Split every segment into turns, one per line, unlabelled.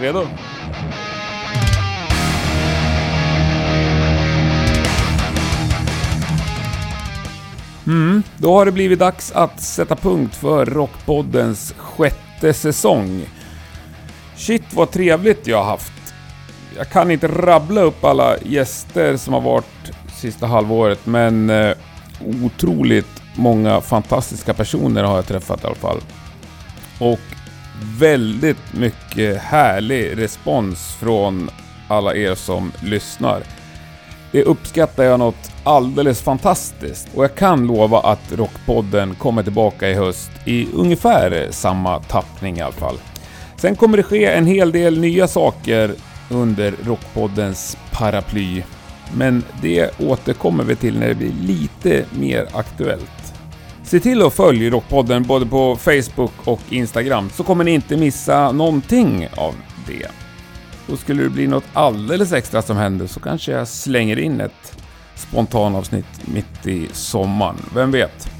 Redo? Mm, då har det blivit dags att sätta punkt för Rockpoddens sjätte säsong. Shit vad trevligt jag har haft. Jag kan inte rabbla upp alla gäster som har varit sista halvåret, men eh, otroligt många fantastiska personer har jag träffat i alla fall. Och väldigt mycket härlig respons från alla er som lyssnar. Det uppskattar jag något alldeles fantastiskt och jag kan lova att Rockpodden kommer tillbaka i höst i ungefär samma tappning i alla fall. Sen kommer det ske en hel del nya saker under Rockpoddens paraply. Men det återkommer vi till när det blir lite mer aktuellt. Se till att följa Rockpodden både på Facebook och Instagram så kommer ni inte missa någonting av det. Och skulle det bli något alldeles extra som händer så kanske jag slänger in ett spontanavsnitt mitt i sommaren. Vem vet?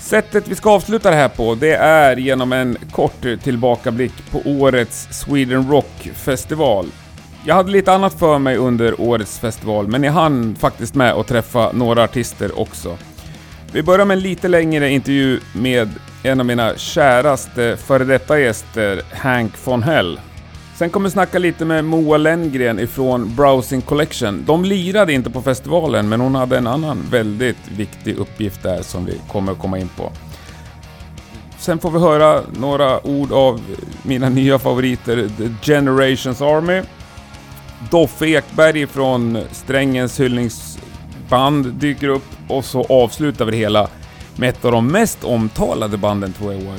Sättet vi ska avsluta det här på, det är genom en kort tillbakablick på årets Sweden Rock Festival. Jag hade lite annat för mig under årets festival, men jag hann faktiskt med att träffa några artister också. Vi börjar med en lite längre intervju med en av mina käraste före detta gäster, Hank von Hell. Sen kommer vi snacka lite med Moa Lenngren ifrån Browsing Collection. De lirade inte på festivalen, men hon hade en annan väldigt viktig uppgift där som vi kommer att komma in på. Sen får vi höra några ord av mina nya favoriter, The Generations Army. Doffe Ekberg från Strängens hyllningsband dyker upp och så avslutar vi det hela med ett av de mest omtalade banden tror jag i år.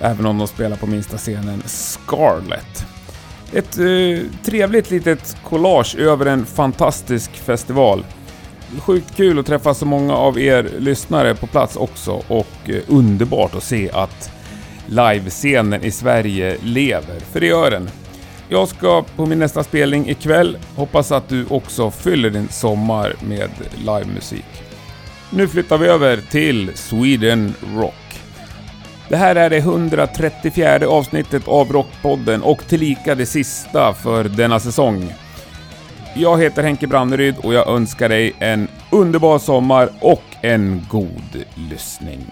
Även om de spelar på minsta scenen, Scarlet. Ett eh, trevligt litet collage över en fantastisk festival. Sjukt kul att träffa så många av er lyssnare på plats också och eh, underbart att se att livescenen i Sverige lever, för det gör den. Jag ska på min nästa spelning ikväll. Hoppas att du också fyller din sommar med livemusik. Nu flyttar vi över till Sweden Rock. Det här är det 134 avsnittet av Rockpodden och tillika det sista för denna säsong. Jag heter Henke Branneryd och jag önskar dig en underbar sommar och en god lyssning.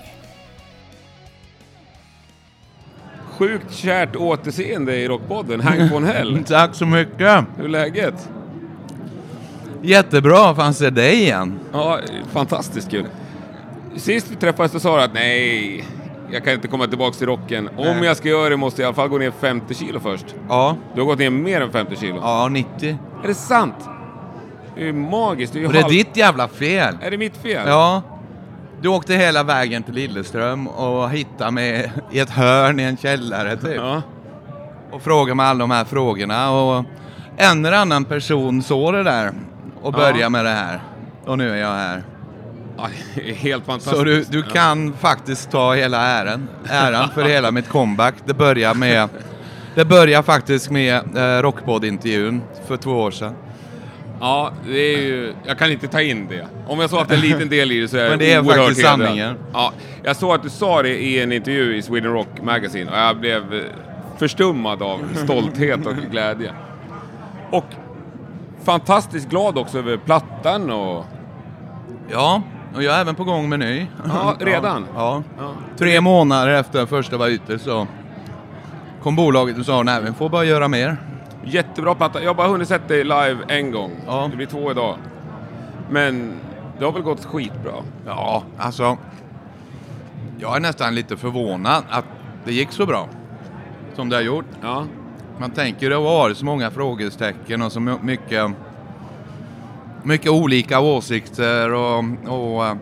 Sjukt kärt återseende i Rockpodden, Hank von Hell.
Mm, Tack så mycket!
Hur är läget?
Jättebra, fan se dig igen.
Ja, fantastiskt kul. Sist vi träffades så sa du att nej, jag kan inte komma tillbaka till rocken. Om
Nej.
jag ska göra det måste jag i alla fall gå ner 50 kilo först.
Ja,
Du har gått ner mer än 50 kilo.
ja 90.
Är det sant? Det är ju magiskt. Det är, ju
Och det är
halv-
ditt jävla fel.
är det mitt fel?
Ja. Du åkte hela vägen till Lilleström och hittade mig i ett hörn i en källare typ.
Ja.
Och frågade mig alla de här frågorna och en eller annan person såg det där och
Ja.
började med det här. Och nu är jag här.
Ja, det är helt fantastiskt.
Så du, du kan faktiskt ta hela äran, äran för hela mitt comeback. Det börjar med det börjar faktiskt med eh, Rockpodd-intervjun för två år sedan.
Ja, det är ju... Jag kan inte ta in det. Om jag så haft en liten del i det så är jag
Men det är
oerhört
faktiskt
hedrad.
sanningen.
Ja, jag såg att du sa det i en intervju i Sweden Rock Magazine och jag blev eh, förstummad av stolthet och glädje. Och fantastiskt glad också över plattan och...
Ja, och jag är även på gång med ny.
Ja, redan?
Ja.
Ja.
Tre månader efter den första var ute så kom bolaget och sa nej, vi får bara göra mer.
Jättebra platta. Jag har bara hunnit sett dig live en gång.
Ja.
Det blir två idag. Men det har väl gått skitbra?
Ja, alltså. Jag är nästan lite förvånad att det gick så bra som det har gjort.
Ja.
Man tänker det var så många frågestecken och så my- mycket, mycket olika åsikter och, och eh,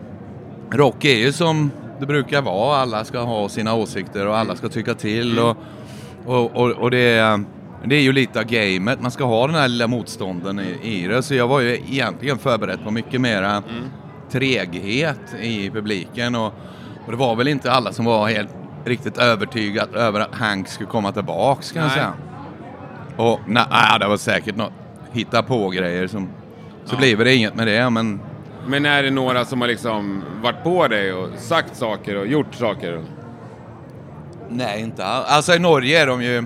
rock är ju som det brukar vara. Alla ska ha sina åsikter och alla ska tycka till
Mm.
och, och, och, och det, är, det är ju lite av gamet. Man ska ha den här lilla motstånden i, i det. Så jag var ju egentligen förberedd på mycket mera
Mm.
treghet i publiken och, och det var väl inte alla som var helt riktigt övertygad över att Hank skulle komma tillbaks kan jag
Nej.
säga. Och nej, det var säkert något hitta på grejer som... Så
Ja.
blev det inget med det, men...
Men är det några som har liksom varit på dig och sagt saker och gjort saker?
Nej, inte alls. Alltså i Norge är de ju...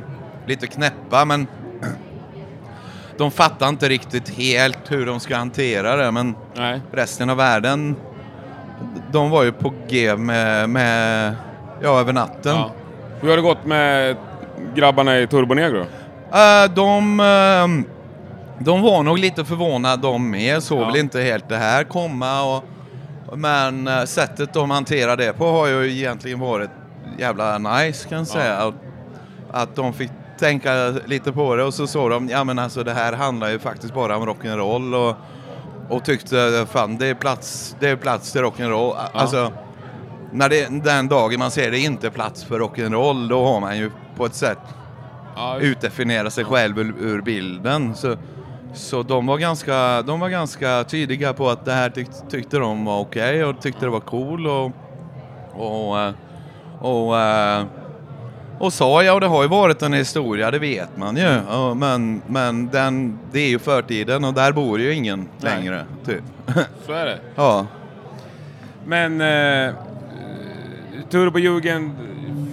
lite knäppa men de fattar inte riktigt helt hur de ska hantera det men
Nej.
resten av världen de var ju på G med, med ja, över natten.
Ja. Hur har det gått med grabbarna i Turbonegro?
Eh, de, ehm, de var nog lite förvånade de med, såg
Ja.
väl inte helt det här komma. Och, men eh, sättet de hanterar det på har ju egentligen varit jävla nice kan jag
Ja.
säga. Att, att de fick tänka lite på det och så såg de, ja men alltså det här handlar ju faktiskt bara om rock'n'roll. Och, och tyckte, fan det är plats, det är plats till rock'n'roll.
Ja.
Alltså, när det, den dagen man ser det inte är plats för rock'n'roll, då har man ju på ett sätt
Ja,
utdefiniera sig själv ur, ur bilden. Så, så de, var ganska, de var ganska tydliga på att det här tyck, tyckte de var okej och tyckte det var cool och, och, eh, och, eh, och sa ja, och det har ju varit en historia, det vet man ju. Ja, Men, men den, det är ju förtiden och där bor ju ingen
Nej.
längre. Typ.
så är det.
ja.
Men eh, Turbojugend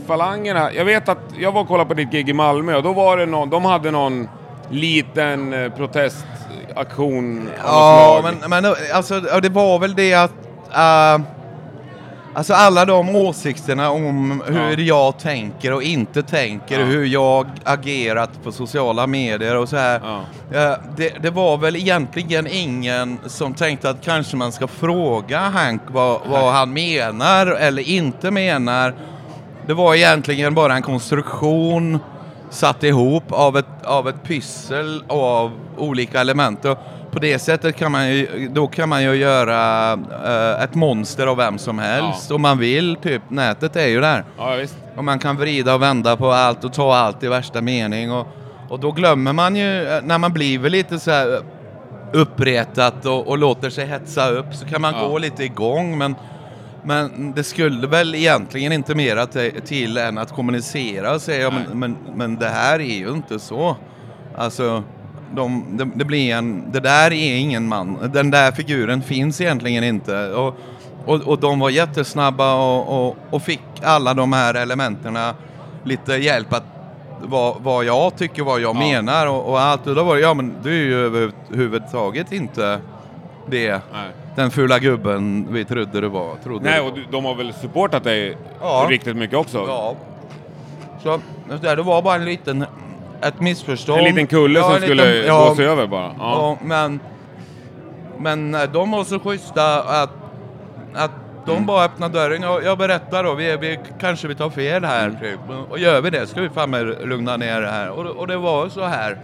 falangerna. Jag vet att jag var och kollade på ditt gig i Malmö och då var det någon, de hade någon liten eh, protestaktion. av något
Ja,
slag.
men, men alltså, ja, det var väl det att... eh, alltså alla de åsikterna om hur jag tänker och inte tänker,
Ja.
hur jag agerat på sociala medier och så här. Eh, det, det var väl egentligen ingen som tänkte att kanske man ska fråga Hank vad, vad han menar eller inte menar. Det var egentligen bara en konstruktion satt ihop av ett, av ett pyssel av olika element. Och på det sättet kan man ju, då kan man ju göra eh, ett monster av vem som helst om man vill. Typ, nätet är ju där.
Ja, visst.
Och man kan vrida och vända på allt och ta allt i värsta mening. Och, och då glömmer man ju, eh, när man blir väl lite så här uppretat och, och låter sig hetsa upp så kan man
Ja.
gå lite igång. Men, men det skulle väl egentligen inte mera te- till än att kommunicera och säga
Nej.
men, men, men det här är ju inte så. Alltså, de, det, det blir en, det där är ingen man, den där figuren finns egentligen inte. Och, och, och de var jättesnabba och, och, och fick alla de här elementerna lite hjälp att vad, vad jag tycker, vad jag
Ja.
menar och, och allt. Och då var det, ja men du är ju överhuvudtaget inte det,
Nej.
den fula gubben vi trodde du var. Trodde
Nej,
du
och du- de har väl supportat dig
Ja.
riktigt mycket också?
Ja. Så det var bara en liten, ett missförstånd.
En liten kulle
Ja,
som
en liten-
skulle
ja,
gå sig över bara? Ja.
ja, men, men eh, de var så schyssta att, att de
Mm.
bara öppnade dörren. Jag, jag berättar då, vi, vi, kanske vi tar fel här.
Mm.
Typ. Och gör vi det ska vi fan med lugna ner det här. Och, och det var så här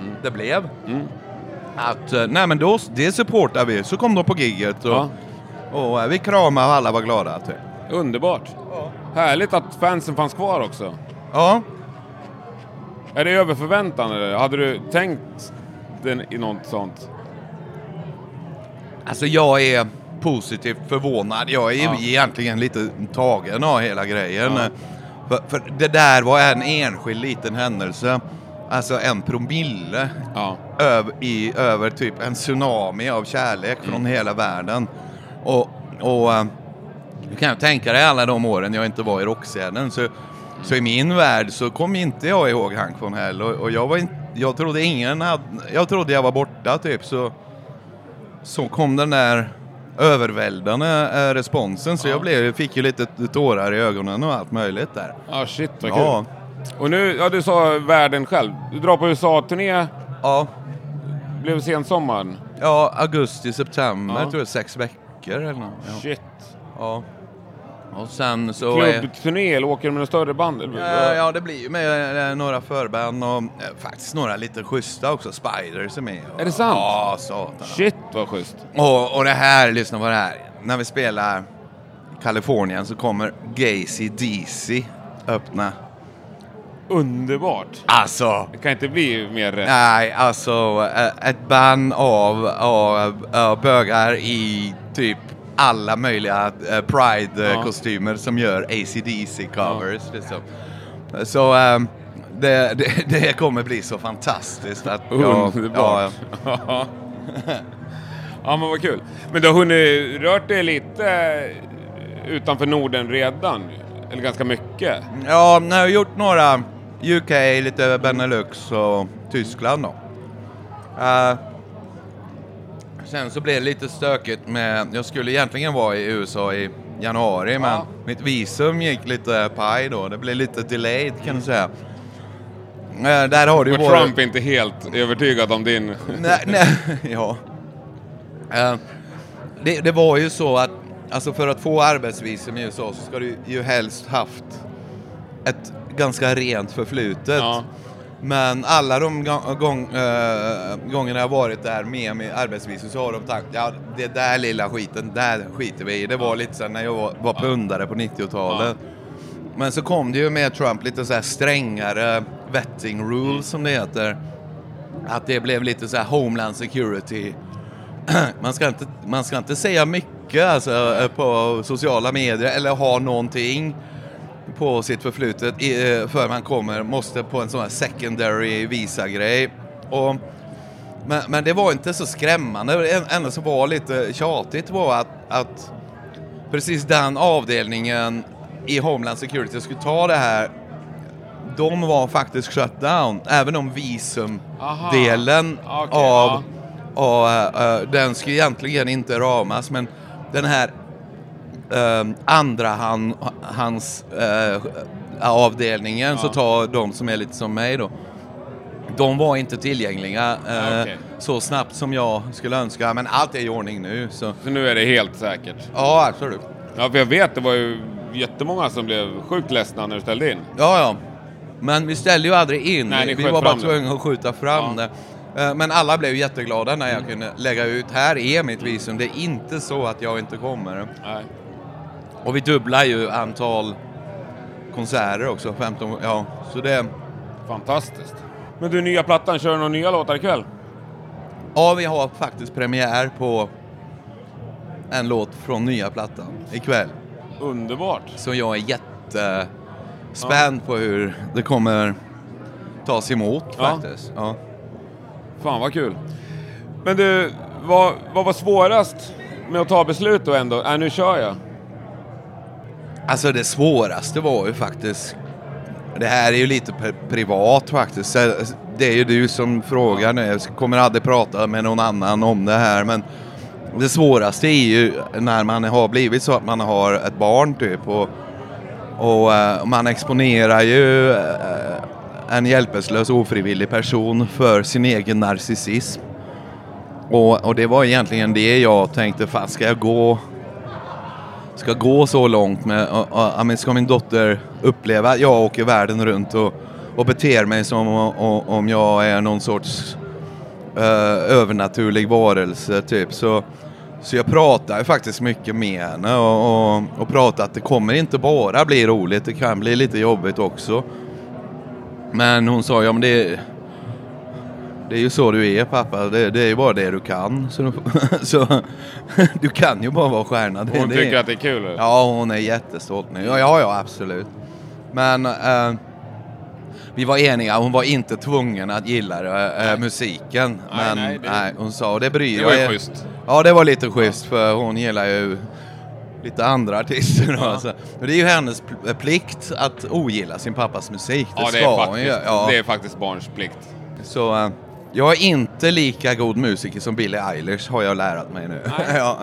Mm.
det blev. Att, eh, nej men då, det supportar vi. Så kom de på gigget och,
Ja.
och, eh, vi kramade och alla var glada. Typ.
Underbart. Härligt att fansen fanns kvar också.
Ja,
Är det över förväntan eller? Hade du tänkt den i något sånt?
Alltså jag är positivt förvånad. Jag är
Ja.
egentligen lite tagen av hela grejen.
Ja.
För, för det där var en enskild liten händelse. Alltså en promille
Ja.
över, i, över typ en tsunami av kärlek
Mm.
från hela världen. Och, och eh, du kan ju tänka dig alla de åren jag inte var i rockscenen. Så, så i min värld så kom inte jag ihåg Hank von Hell och, och jag, var in, jag trodde ingen hade, jag trodde jag var borta typ så, så kom den där överväldigande eh, responsen så jag blev, fick ju lite tårar i ögonen och allt möjligt där.
Ja, Ah, shit vad kul.
Ja,
Och nu, ja du sa världen själv. Du drar på USA-turné,
ja,
blev sensommaren.
ja, augusti, september
Ja.
tror jag, sex veckor eller något. Ja.
Shit.
Ja. Och sen så... eh,
Klubbturné eller åker du med något större band? Eller?
Äh, Ja, ja, det blir ju med eh, några förband och eh, faktiskt några lite schyssta också. Spiders är med. Och,
Är det sant?
Ja, satan.
Shit vad schysst.
Och, och det här, lyssna på det här. När vi spelar Kalifornien så kommer Gacy DC öppna.
Underbart.
Alltså!
Det kan inte bli mer rätt.
Nej, alltså eh, ett band av, av, av bögar i typ alla möjliga eh,
Ja.
Pride-kostymer som gör ACDC-covers. Liksom. Så ehm, det, det, det kommer bli så fantastiskt. Att, ja,
Underbart. Ja, men vad kul. Men du har hunnit rört dig lite utanför Norden redan? Eller ganska mycket?
ja, jag har gjort några UK, lite över Benelux och Tyskland då. Eh, sen så blev det lite stökigt med, jag skulle egentligen vara i USA i januari men
Ja.
mitt visum gick lite paj då. Det blev lite delayed kan du säga. Eh, där har du ju
Och
både-
Trump är inte helt övertygad om din...
nej, nej, ja. Eh, det, det var ju så att alltså för att få arbetsvisum i USA så ska du ju helst haft ett ganska rent förflutet.
Ja.
Men alla de gång, gång, eh, gångerna jag varit där med med arbetsvisum så har de sagt ja det där lilla skiten, där skiter vi i. Det var lite så här när jag var, var pundare på 90-talet. Men så kom det ju med Trump lite så här strängare vetting rules som det heter. Att det blev lite så här homeland security. Man ska inte, man ska inte säga mycket alltså, eh, på sociala medier eller ha någonting på sitt förflutet i- eh, för man kommer, måste på en sån här secondary visa-grej. Och, men, men det var inte så skrämmande. Det en- enda som var lite tjatigt var att, att precis den avdelningen i Homeland Security skulle ta det här de var faktiskt shut down, även om visumdelen
Aha. Okej,
av, av eh, eh, den skulle egentligen inte ramas, men den här um, andra han, hans eh, avdelningen så tar de som är lite som mig då. De var inte tillgängliga eh,
Ah, okej.
så snabbt som jag skulle önska, men allt är i ordning nu. Så.
Så nu är det helt säkert.
Ja, absolut.
Ja, för jag vet, det var ju jättemånga som blev sjukt ledsna när du ställde in.
Ja, ja. Men vi ställde ju aldrig in.
Nej, ni
vi
sköt
var bara
fram det.
tvungna att skjuta fram det. Eh, Men alla blev ju jätteglada när jag
Mm.
kunde lägga ut, här är mitt visum, det är inte så att jag inte kommer.
Nej.
Och vi dubblar ju antal konserter också, 15, ja. Så det,
Fantastiskt. Men du, nya plattan, kör du några nya låtar ikväll?
ja vi har faktiskt premiär på en låt från nya plattan ikväll.
Underbart.
Så jag är jättespänd på hur det kommer tas emot
Ja.
faktiskt. Ja.
Fan vad kul. Men du, vad, vad var svårast med att ta beslut då ändå? Äh, nu kör jag.
Alltså det svåraste var ju faktiskt, det här är ju lite pri- privat faktiskt, Så det är ju du som frågar nu, jag kommer aldrig prata med någon annan om det här men det svåraste är ju när man har blivit så att man har ett barn typ och, och eh, man exponerar ju eh, en hjälpeslös ofrivillig person för sin egen narcissism. Och, och det var egentligen det jag tänkte, fan ska jag gå ska gå så långt med, och, och, ja, men ska min dotter uppleva att jag åker världen runt och, och beter mig som o- o- om jag är någon sorts eh, övernaturlig varelse typ. Så, så jag pratar ju faktiskt mycket med henne och, och, och pratar att det kommer inte bara bli roligt, det kan bli lite jobbigt också. Men hon sa, ja men det, det är ju så du är pappa, det, det är ju bara det du kan. Så, du- så du kan ju bara vara stjärna. Det,
Hon
det är-
tycker att det är kul. eller?
Ja, hon är jättestolt nu. Ja, ja, ja absolut. Men eh, vi var eniga, hon var inte tvungen att gilla eh, eh, musiken.
Nej,
men
nej, det-
hon sa, och det bryr
Det var ju
jag er-
schysst.
Ja, det var lite schysst för hon gillar ju lite andra artister. Då, alltså. Men det är ju hennes pl- eh, plikt att ogilla sin pappas musik. Det,
Ja, det
ska
är,
hon
faktiskt,
ju. Ja.
det är faktiskt barns plikt.
Så eh, jag är inte lika god musiker som Billie Eilish har jag lärt mig nu. ja.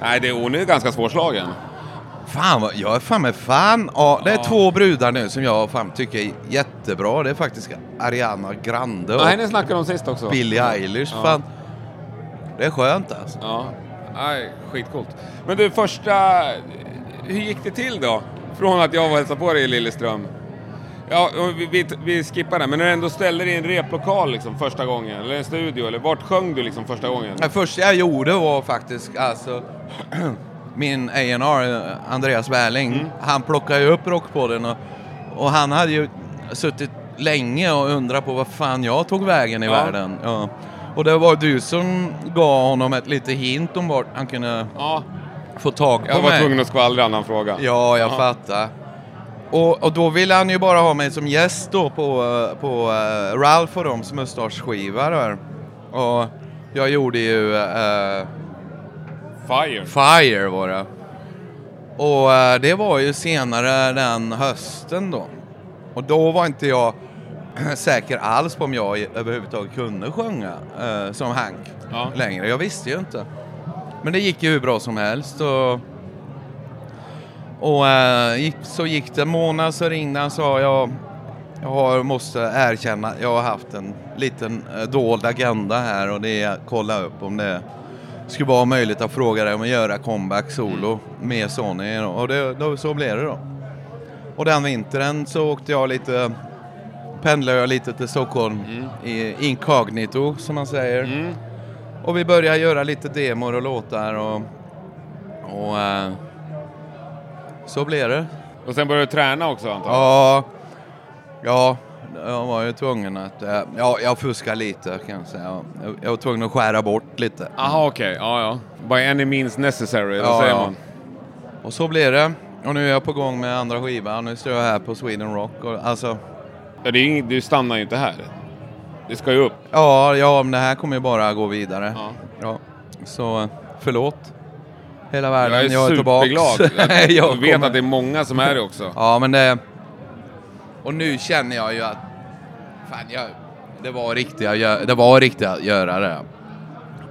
Nej, det, hon är ganska svårslagen.
Fan, vad, jag är fan med fan ja, Det är två brudar nu som jag fan tycker är jättebra. Det är faktiskt Ariana Grande och
Nej, ni snackade om sist också.
Billie Eilish. Fan. Det är skönt alltså.
Ja, nej, skitcoolt. Men du, första... Hur gick det till då? Från att jag var och hälsade på dig i Lilleström. Ja, och vi, vi, vi skippar det, men när du ändå ställde dig i en replokal liksom första gången, eller en studio, eller vart sjöng du liksom första gången?
Det första jag gjorde var faktiskt alltså min A&R eh, Andreas Wärling.
Mm.
Han plockade ju upp Rockpodden och, och han hade ju suttit länge och undrat på vad fan jag tog vägen i
Ja.
världen. Ja. Och det var du som gav honom ett lite hint om vart han kunde
Ja,
få tag på
jag var
mig.
tvungen att skvallra annan fråga.
Ja, jag fattar. Och, och då ville han ju bara ha mig som gäst då på, eh, på eh, Ralph och dems mustaschskiva där. Och jag gjorde ju eh,
Fire.
Fire var det. Och eh, det var ju senare den hösten då. Och då var inte jag säker alls på om jag överhuvudtaget kunde sjunga eh, som Hank
Ja.
längre. Jag visste ju inte. Men det gick ju hur bra som helst. Och, och eh, gick, så gick det en månad så ringde han och sa jag, jag har, måste erkänna att jag har haft en liten eh, dold agenda här och det är att kolla upp om det skulle vara möjligt att fråga dig om att göra comeback solo med Sony. Och det, då, så blev det då. Och den vintern så åkte jag lite, pendlade jag lite till Stockholm i incognito som man säger.
Mm.
Och vi började göra lite demor och låtar och, och eh, så blev det.
Och sen började du träna också antar jag?
Ja, ja, jag var ju tvungen att, eh, ja, jag fuskade lite kan jag säga. Jag, jag var tvungen att skära bort lite.
Jaha, okej. Ja, ja. By any means necessary, vad
Ja,
säger
ja.
man?
Och så blev det. Och nu är jag på gång med andra skivan. Nu står jag här på Sweden Rock. Och, alltså,
Ja, det är inget, du stannar ju inte här. Det ska ju upp.
ja, ja, men det här kommer ju bara gå vidare.
Ja.
Ja. Så förlåt. Hela världen,
Jag är,
tillbaks.
superglad. Jag,
jag
vet
kommer-
att det är många som är det också.
Ja, men det... Och nu känner jag ju att... Fan, jag... Det var riktigt att göra det. Var riktigt att göra det.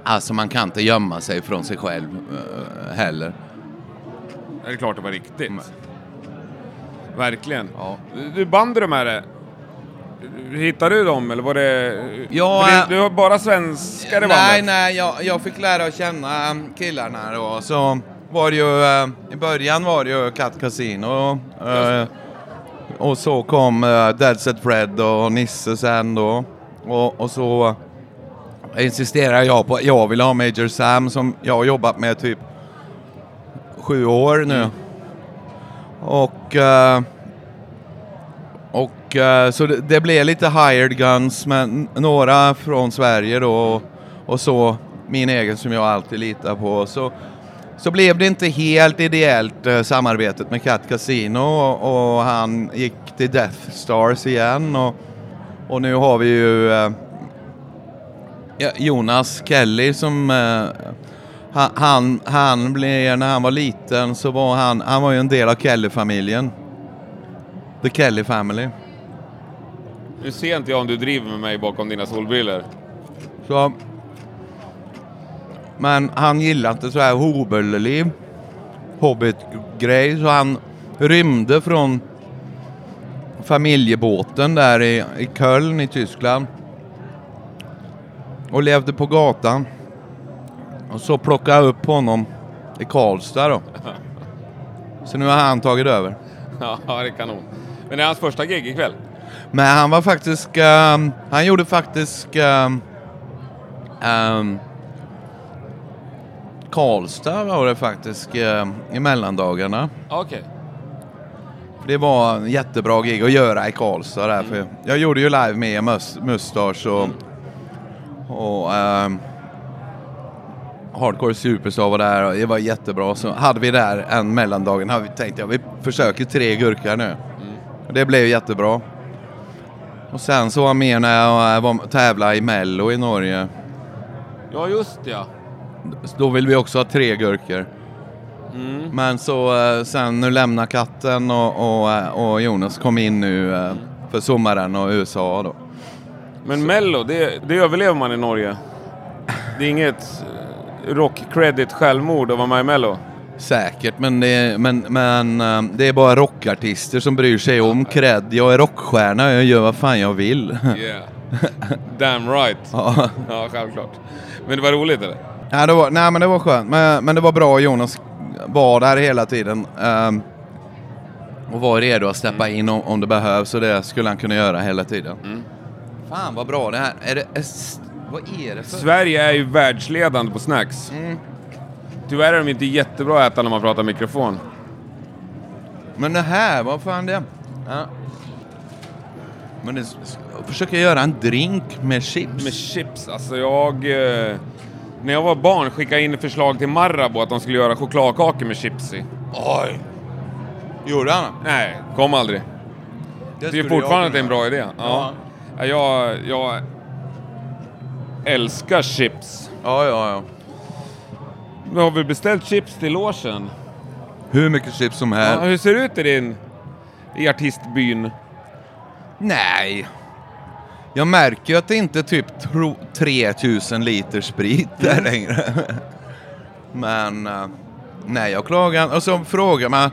Alltså, man kan inte gömma sig från sig själv eh, heller.
Det är klart det var riktigt. Verkligen.
Ja.
Du, band de här... Hittade du dem eller var det...
Ja,
För
äh,
det, du har bara svenskar i
Nej,
bandet?
nej, jag, jag fick lära känna um, killarna då. Så var det ju, um, i början var det ju Cat Casino. eh, och så kom eh, Dead Set Fred och Nisse sen då. Och, och så insisterade jag på att jag ville ha Major Sam som jag har jobbat med typ sju år nu. Och... eh, och eh, så det, det blev lite hired guns, men några från Sverige då och, och så min egen som jag alltid litar på. Så, så blev det inte helt ideellt eh, samarbetet med Cat Casino och, och han gick till Death Stars igen och, och nu har vi ju eh, ja, Jonas Kelly som eh, han, han, han blev, när han var liten så var han, han var ju en del av Kelly-familjen. The Kelly Family.
Nu ser inte jag om du driver med mig bakom dina solbriller.
Så, men han gillade inte så här hobelliv, hobbitgrej, så han rymde från familjebåten där i, i Köln i Tyskland och levde på gatan. Och så plockade jag upp honom i Karlstad då. Så nu har han tagit över.
Ja, det är kanon. Men det är hans första gig ikväll.
Men han var faktisk... ehm, han gjorde faktisk... ehm, ehm, Karlstad var det faktiskt ehm, i mellandagarna.
Okej.
Det var en jättebra gig att göra i Karlstad där. För jag gjorde ju live med Mus- Mustasch och, och ehm, Hardcore Superstar var där och det var jättebra. Så hade vi där en mellandagen. Hade vi tänkt jag vi försöker tre gurkor nu. Och det blev jättebra. Och sen så var jag med när jag var, tävlade i Mello i Norge.
Ja, just ja.
Då vill vi också ha tre gurkor. Men så eh, sen nu lämnar katten och, och, eh, och Jonas kom in nu eh, för sommaren och USA då.
Men Mello, det, det överlever man i Norge. Det är inget eh, rock-credit-självmord att vara med i Mello.
Säkert, men det, men, men eh, det är bara rockartister som bryr sig om cred. Jag är rockstjärna, jag gör vad fan jag vill.
Yeah. Damn right.
Ja.
Ja, självklart. Men det var roligt eller?
Nej, det var, nej men det var skönt. Men, men det var bra Jonas var där hela tiden. ehm, och var redo att steppa in om, om det behövs och det skulle han kunna göra hela tiden.
Mm.
Fan vad bra det här är. Det, är s- vad är det för...
Sverige är ju världsledande på snacks. Tyvärr är de inte jättebra att äta när man pratar mikrofon.
Men det här, vad fan det... Ja. Men det, s- s- jag försöker göra en drink med chips.
Med chips, alltså jag... Eh, när jag var barn skickade jag in förslag till Marabou att de skulle göra chokladkakor med chips i.
Oj! Gjorde han?
Nej, kom aldrig. Det är
skulle
ju
jag
fortfarande att det är
kunna
en bra idé. Ja. Ja.
Ja.
Jag, jag älskar chips.
Ja, ja, ja.
Nu har vi beställt chips till logen.
Hur mycket chips som
Ja,
helst.
hur ser det ut i din... I artistbyn?
Nej. Jag märker ju att det inte är typ tro- 3000 liter sprit där längre. Men eh, nej, jag klagar. Och så frågar man.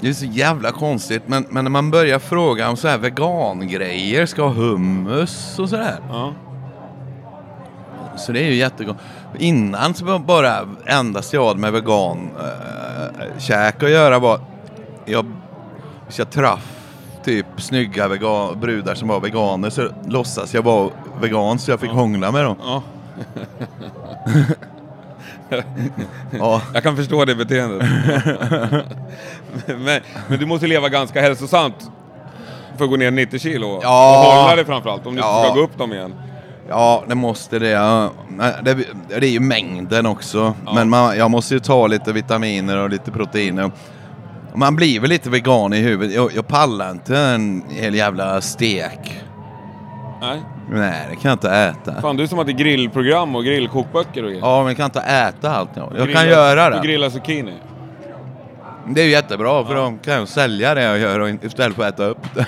Det är så jävla konstigt, men, men när man börjar fråga om så här vegangrejer, ska ha hummus och sådär.
Ja.
Så det är ju jättegott. Innan så var bara endast jag hade med vegan äh, käk att göra var jag, så jag träff typ snygga vegan, brudar som var veganer så låtsas jag vara vegan så jag fick hångla med dem.
ja.
Ja,
Jag kan förstå det beteendet. men, men du måste leva ganska hälsosamt för att gå ner 90 kilo.
Ja.
Och hålla det framförallt, om du
Ja.
ska gå upp dem igen.
ja det måste det. Ja. Nej, Det, det är ju mängden också. Men man, jag måste ju ta lite vitaminer och lite proteiner. Man blir väl lite vegan i huvudet. Jag, jag pallar inte en hel jävla stek.
Nej.
Nej, det kan jag inte äta.
Fan, du som hade grillprogram och grillkokböcker och grejer.
Ja, men jag kan inte äta allt. Jag, jag
Grilla-
kan göra
Du
det.
grillar zucchini.
Det är ju jättebra, för då kan jag sälja det jag gör och in- istället för att äta upp det.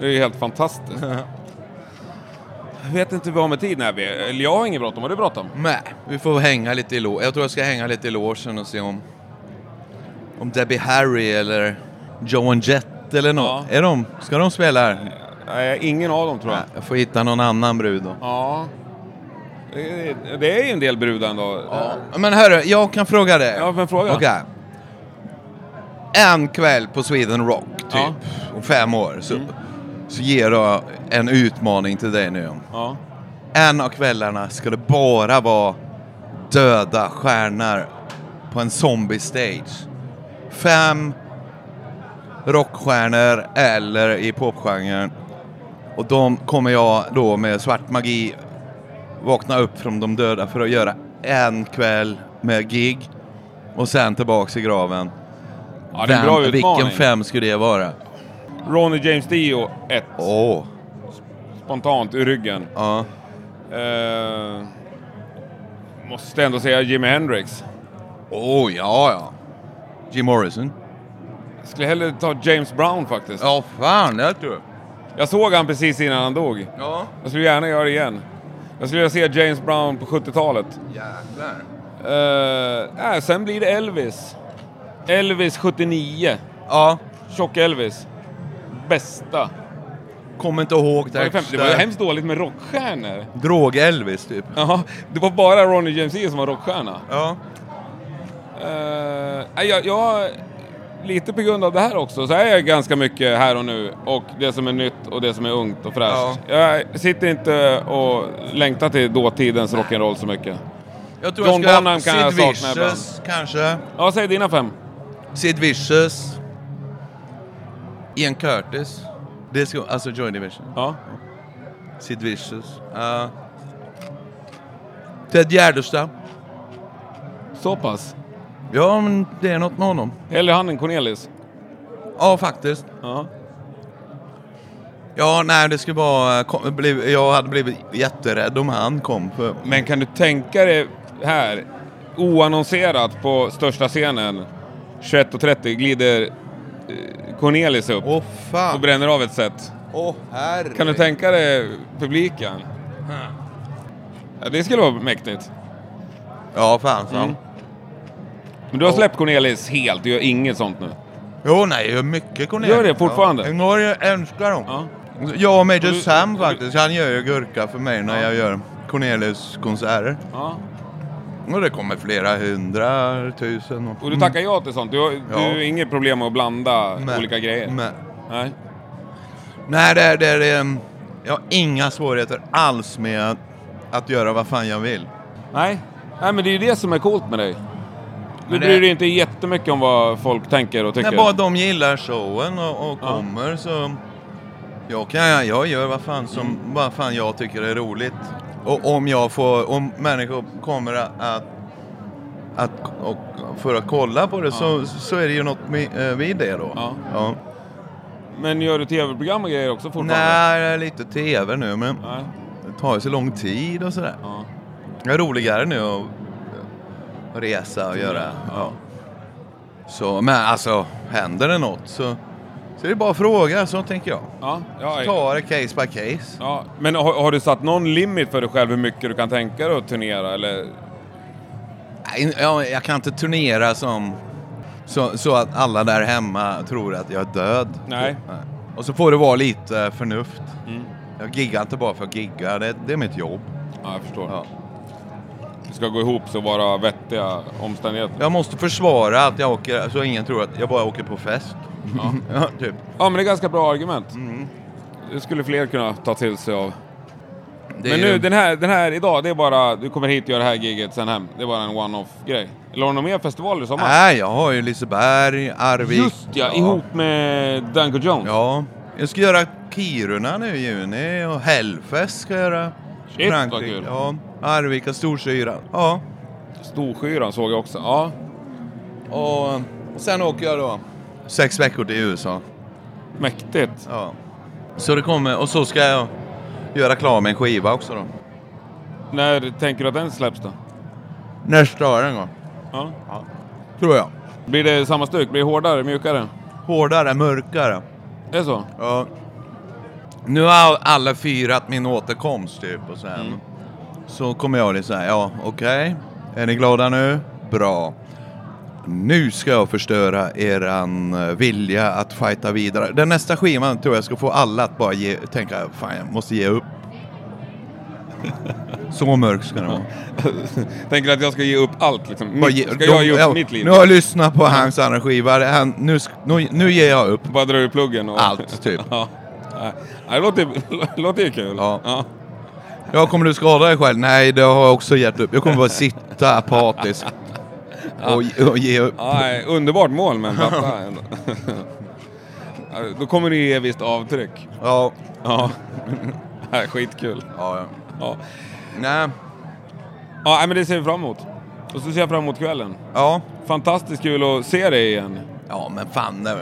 Det är ju helt fantastiskt. Jag vet inte vad med tiden är. vi- Eller jag har inget bråttom. Har du bråttom?
Nej, vi får hänga lite i lo- Jag tror jag ska hänga lite i logen och se om, om Debbie Harry eller Joan Jett eller något.
Ja.
Är de, ska de spela här?
Nej, ingen av dem tror jag.
Nej, jag får hitta någon annan brud då.
Ja. Det är- Det är ju en del brudar ändå. Ja.
Men hörru, jag kan fråga dig.
Ja, men fråga.
Okej. En kväll på Sweden Rock, typ,
Ja. Mm.
om fem år, så, så ger jag en utmaning till dig nu.
ja.
En av kvällarna ska det bara vara döda stjärnor på en zombie-stage. Fem rockstjärnor eller i popgenren. Och de kommer jag då med svart magi vakna upp från de döda för att göra en kväll med gig och sen tillbaks i graven.
ja det är en bra
Vem-
utmaning.
vilken fem skulle det vara?
Ronny James Dio 1.
Åh,
Spontant ur ryggen.
ja.
Eh, måste ändå säga Jimi Hendrix.
Åh, ja, ja. Jim Morrison.
Jag skulle hellre ta James Brown faktiskt.
Ja, fan, det tror jag.
Jag såg han precis innan han dog.
Ja.
Jag skulle gärna göra det igen. Jag skulle vilja se James Brown på 70-talet.
Jäklar.
Eh, äh, sen blir det Elvis. Elvis 79.
Ja,
Tjock-Elvis. Bästa.
kommer inte ihåg
Det var, ju
det.
fem- det var ju hemskt dåligt med rockstjärnor.
Drog-Elvis typ.
Jaha, det var bara Ronny James Dio som var rockstjärna.
Ja.
Eh, nej, jag, jag, lite på grund av det här också, så är jag ganska mycket här och nu. Och det som är nytt och det som är ungt och fräscht. Jag sitter inte och längtar till dåtidens rock'n'roll så mycket.
Jag tror
John
jag ska
Bonham kan jag
Sid
sakna
Vicious kanske.
Ja, säg dina fem.
Sid Vicious. Ian Curtis. Det ska, alltså Joy Division.
Ja.
Sid Vicious. Ja. Ted Gärdestad.
Så pass.
Ja, men det är något med honom.
Hellre han än Cornelis.
Ja, faktiskt.
Ja. ja.
Ja, nej, det skulle vara... eh, Kom, bli, jag hade blivit jätterädd om han kom. För,
Men kan du tänka dig här, oannonserat på största scenen, 21.30 glider eh, Cornelis upp
Åh,
och
fan.
bränner av ett set.
Åh, herre.
Kan du tänka dig publiken? Ja, det skulle vara mäktigt.
Ja, fan. fan.
Men du har släppt Cornelis helt, du gör inget sånt nu.
Jo, nej, jag gör mycket Cornelis.
Gör det fortfarande?
Ja. I Norge älskar de.
Ja.
Jag och Major
Och du-
Sam
och du-
faktiskt, han gör ju gurka för mig när jag gör Cornelis konserter.
ja.
Och det kommer flera hundra tusen.
Och du tackar ja till sånt? Du har, du
Ja.
har inget problem med att blanda
Mm.
olika grejer?
Men-
Nej.
Nej, det är... Det, är, ehm, jag har inga svårigheter alls med att, att göra vad fan jag vill.
Nej. Nej, men det är ju det som är coolt med dig. Du
Men det-
bryr dig inte jättemycket om vad folk tänker och tycker.
När bara de gillar showen och, och
Ja.
kommer så... Jag, kan, jag gör vad fan, som, vad fan jag tycker är roligt. Och om jag får... Om människor kommer att... att och, för att kolla på det så, så är det ju något med, eh, vid det då.
Ja. Men gör du tv-program och grejer också fortfarande?
Nej, det är lite tv nu men
Nej.
det tar ju så lång tid och sådär.
Ja.
Det är roligare nu att, att resa och göra.
Ja.
Så, men alltså, händer det något så... Så det är bara att fråga, så tänker jag.
Ja, ja,
Ta det case by case.
ja. Men har, har du satt någon limit för dig själv hur mycket du kan tänka dig att turnera? Eller?
Nej, Jag, jag kan inte turnera som, så, så att alla där hemma tror att jag är död.
Nej. Mm.
Och så får det vara lite förnuft. Jag giggar inte bara för att gigga, det, det är mitt jobb.
Ja, jag förstår.
Ja.
Det ska gå ihop så vara vettiga omständigheter.
Jag måste försvara att jag åker, så ingen tror att jag bara åker på fest. Ja. typ.
Ja, men det är ganska bra argument. Det skulle fler kunna ta till sig av.
Det
men
är ju-
nu, den här, den här idag, det är bara... Du kommer hit och gör det här giget, sen hem. Det är bara en one-off-grej. Eller har du några mer festivaler i sommar?
Nej, jag har ju Liseberg, Arvik.
Just Äh, ja, ihop med Danko Jones.
Ja. Jag ska göra Kiruna nu i juni och Hellfest ska jag göra.
Shit, vad kul.
Ja. Arvika, Storsyra. Ja.
Storskyran såg jag också. Ja.
Och, och sen åker jag då sex veckor till USA.
Mäktigt.
Ja. Så det kommer, och så ska jag göra klar med en skiva också då.
När tänker du att den släpps då?
Nästa år en gång.
Ja.
Tror jag.
Blir det samma stuk? Blir det hårdare, mjukare?
Hårdare, mörkare.
Är det så?
Ja. Nu har alla firat min återkomst typ och sen
Mm.
så kommer jag och så här, ja okej, är ni glada nu? Bra. Nu ska jag förstöra eran eh, vilja att fighta vidare. Den nästa skivan tror jag ska få alla att bara ge, tänka, fan jag måste ge upp. så mörk ska den vara.
Tänker du att jag ska ge upp allt liksom?
Bara
Mitt,
ge-
ska
de-
jag ge upp
ja,
mitt liv?
Nu har jag lyssnat på hans andra skiva, Det- han, nu, sk- nu, nu ger jag upp.
Bara dra ur pluggen och...
Allt, typ.
ja. Nej, Det låter, låter ju kul.
Ja. Ja, kommer du skada dig själv? Nej, det har jag också gett upp. Jag kommer bara sitta apatisk och, och ge upp.
Ja, nej, underbart mål men pappa. ändå. Ja, Då kommer det ge visst avtryck.
Ja.
Ja. Nej, Skitkul.
ja.
Ja.
Nej.
ja, nej, men det ser vi fram emot. Och så ser jag fram emot kvällen.
Ja.
Fantastiskt kul att se dig igen.
Ja, men fan. det-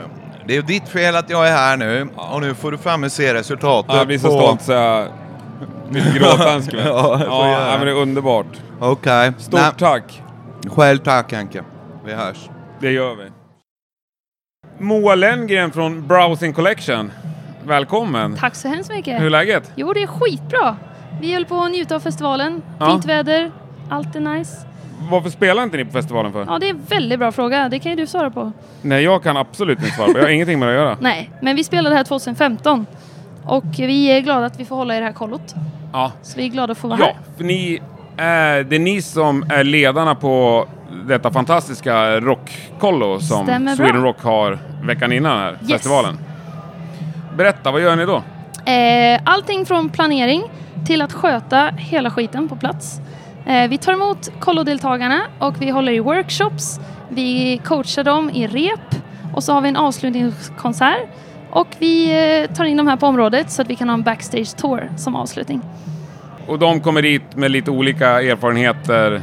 Det är ditt fel att jag är här nu. Och nu får du fram se resultatet.
Ja, jag blir så
på-
stolt så jag vill gråta en skvätt.
Ja, jag får
ja,
göra
nej,
det.
men det är underbart.
Okej.
Stort
Nej,
tack.
Själv tack, Anke. Vi hörs.
Det gör vi. Moa Lenngren från Browsing Collection. Välkommen.
Tack så hemskt mycket.
Hur är läget?
Jo, det är skitbra. Vi höll på att njuta av festivalen.
Ja.
Fint väder, allt är nice.
Varför spelar inte ni på festivalen för?
Ja, det är en väldigt bra fråga. Det kan ju du svara på.
Nej, jag kan absolut inte svara på. Jag har ingenting med det att göra.
Nej, men vi spelade här 2015 och vi är glada att vi får hålla i det här kollot.
Ja,
Så vi är glada att få vara
ja
här.
för ni är, det är ni som är ledarna på detta fantastiska rockkollo som
Stämmer bra.
Sweden Rock har veckan innan här,
Yes.
festivalen. Berätta, vad gör ni då?
Eh, Allting från planering till att sköta hela skiten på plats. Eh, Vi tar emot kollodeltagarna och vi håller i workshops. Vi coachar dem i rep och så har vi en avslutningskonsert. Och vi eh, tar in de här på området så att vi kan ha en backstage tour som avslutning.
Och de kommer dit med lite olika erfarenheter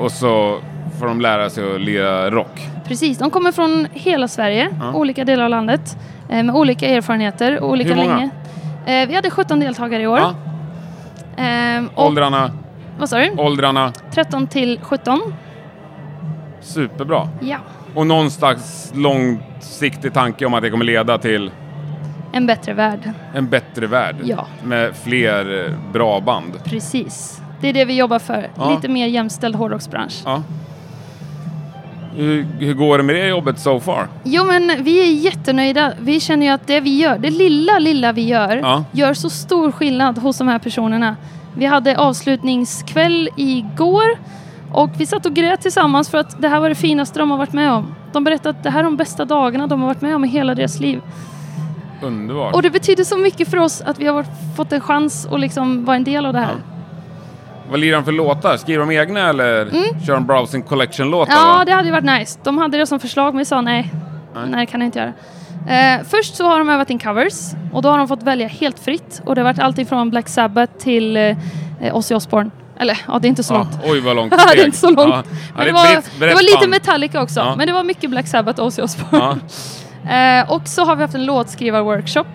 och så får de lära sig att lira rock.
Precis, de kommer från hela Sverige, olika delar av landet eh, med olika erfarenheter och olika
Hur många?
länge. Eh, Vi hade 17 deltagare i år.
Ja.
Ehm, Och,
Åldrarna,
vad sa du?
åldrarna,
13 till 17.
superbra.
Ja,
Och någon slags långsiktig tanke om att det kommer leda till
en bättre värld.
en bättre värld
Ja.
med fler eh, bra band.
Precis. Det är det vi jobbar för.
Ja.
Lite mer jämställd hårdrocksbransch.
Ja. Hur, hur går det med det jobbet so far?
Jo men vi är jättenöjda. Vi känner ju att det vi gör, det lilla lilla vi gör,
Ja.
gör så stor skillnad hos de här personerna. Vi hade avslutningskväll igår och vi satt och grät tillsammans för att det här var det finaste de har varit med om. De berättade att det här är de bästa dagarna de har varit med om i hela deras liv.
Underbart.
Och det betyder så mycket för oss att vi har varit- fått en chans att liksom vara en del av det här.
Vad lirar de för låtar? Skriver de egna eller kör de Browsing Collection-låtar?
Mm. Ja,
va?
det hade ju varit nice. De hade det som förslag, men vi sa nej.
Nej.
Nej, det kan jag inte göra. Eh, först så har de övat in covers och då har de fått välja helt fritt. Och det har varit allt ifrån Black Sabbath till eh, Ozzy Osbourne. Eller ja, det är inte så
Ja,
långt.
oj, vad långt
det
steg.
är inte så långt.
Ja. Ja,
Men det,
är
var,
ett brett-
det
brett
var lite
band.
Metallica också,
Ja.
men det var mycket Black Sabbath och Ozzy Osbourne.
Ja.
Eh, och så har vi haft en låtskrivarworkshop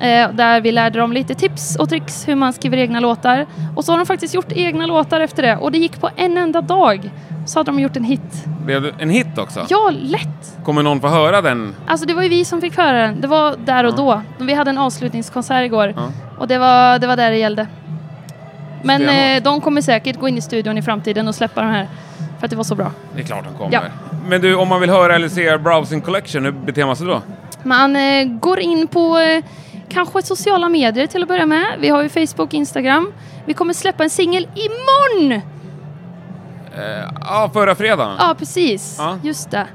eh, där vi lärde dem lite tips och tricks hur man skriver egna låtar. Och så har de faktiskt gjort egna låtar efter det och det gick på en enda dag. så hade de gjort en hit.
Blev det en hit också?
Ja, lätt!
Kommer någon få höra den?
Alltså det var ju vi som fick höra den. Det var där och då. Vi hade en avslutningskonsert igår
Ja.
och det var, det var där det gällde. Men
Stenhårt.
eh, de kommer säkert gå in i studion i framtiden och släppa den här. För att det var så bra.
Det är klart de kommer.
Ja.
Men du, om man vill höra eller se Browsing Collection, hur beter man sig då?
Man eh, går in på eh, kanske sociala medier till att börja med. Vi har ju Facebook, Instagram. Vi kommer släppa en singel imorgon!
Eh, Ja, förra fredagen.
Ja, precis.
Ja.
Just det.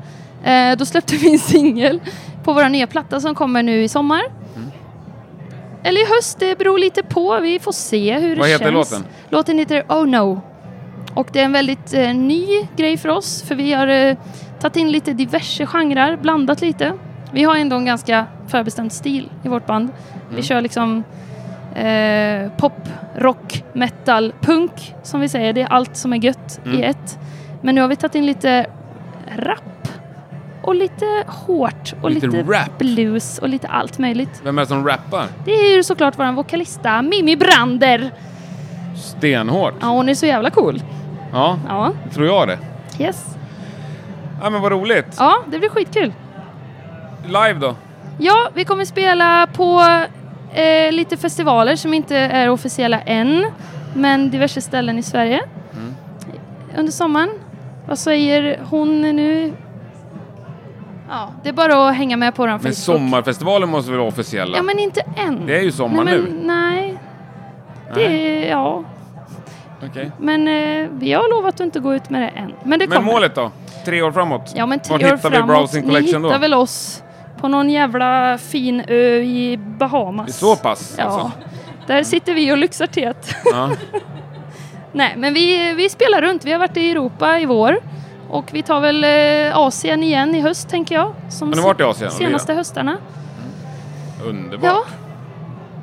Eh, då släppte vi en singel på vår nya platta som kommer nu i sommar.
Mm.
Eller i höst, det beror lite på. Vi får se hur
Vad
det
heter
känns.
låten?
Låten heter Oh No. Och det är en väldigt eh, ny grej för oss, för vi har eh, tagit in lite diverse genrer, blandat lite. Vi har ändå en ganska förbestämd stil i vårt band.
Mm.
Vi kör liksom eh, pop, rock, metal, punk som vi säger. Det är allt som är gött i
Mm.
ett. Men nu har vi tagit in lite rap och lite hårt och
Lite
lite,
rap?
blues och lite allt möjligt.
Vem är det som rappar?
Det är ju såklart vår vokalista Mimmi Brander.
Stenhårt.
Ja, hon är så jävla cool.
Ja,
Ja,
tror jag det.
yes.
Ja, men vad roligt.
Ja, det blir skitkul.
Live då?
Ja, vi kommer spela på eh, lite festivaler som inte är officiella än, men diverse ställen i Sverige
Mm.
under sommaren. Vad säger hon nu? Ja, det är bara att hänga med på den
Men sommarfestivalen måste väl vara officiella?
Ja, men inte än.
Det är ju sommar
nej, men,
nu.
Nej, det är, ja.
Okej.
Men eh, vi har lovat att inte gå ut med det än. Men det
Men
kommer.
målet då? Tre år framåt?
Ja men tio
Vart
år
hittar vi
framåt.
Browsing Collection då?
Ni hittar väl oss på någon jävla fin ö i Bahamas.
Det är så pass,
Ja.
alltså?
Där sitter vi och lyxar teet.
Ja.
Nej men vi, vi spelar runt. Vi har varit i Europa i vår. Och vi tar väl eh, Asien igen i höst tänker jag. Som
Har ni varit i Asien och
Senaste höstarna.
Underbart.
Ja.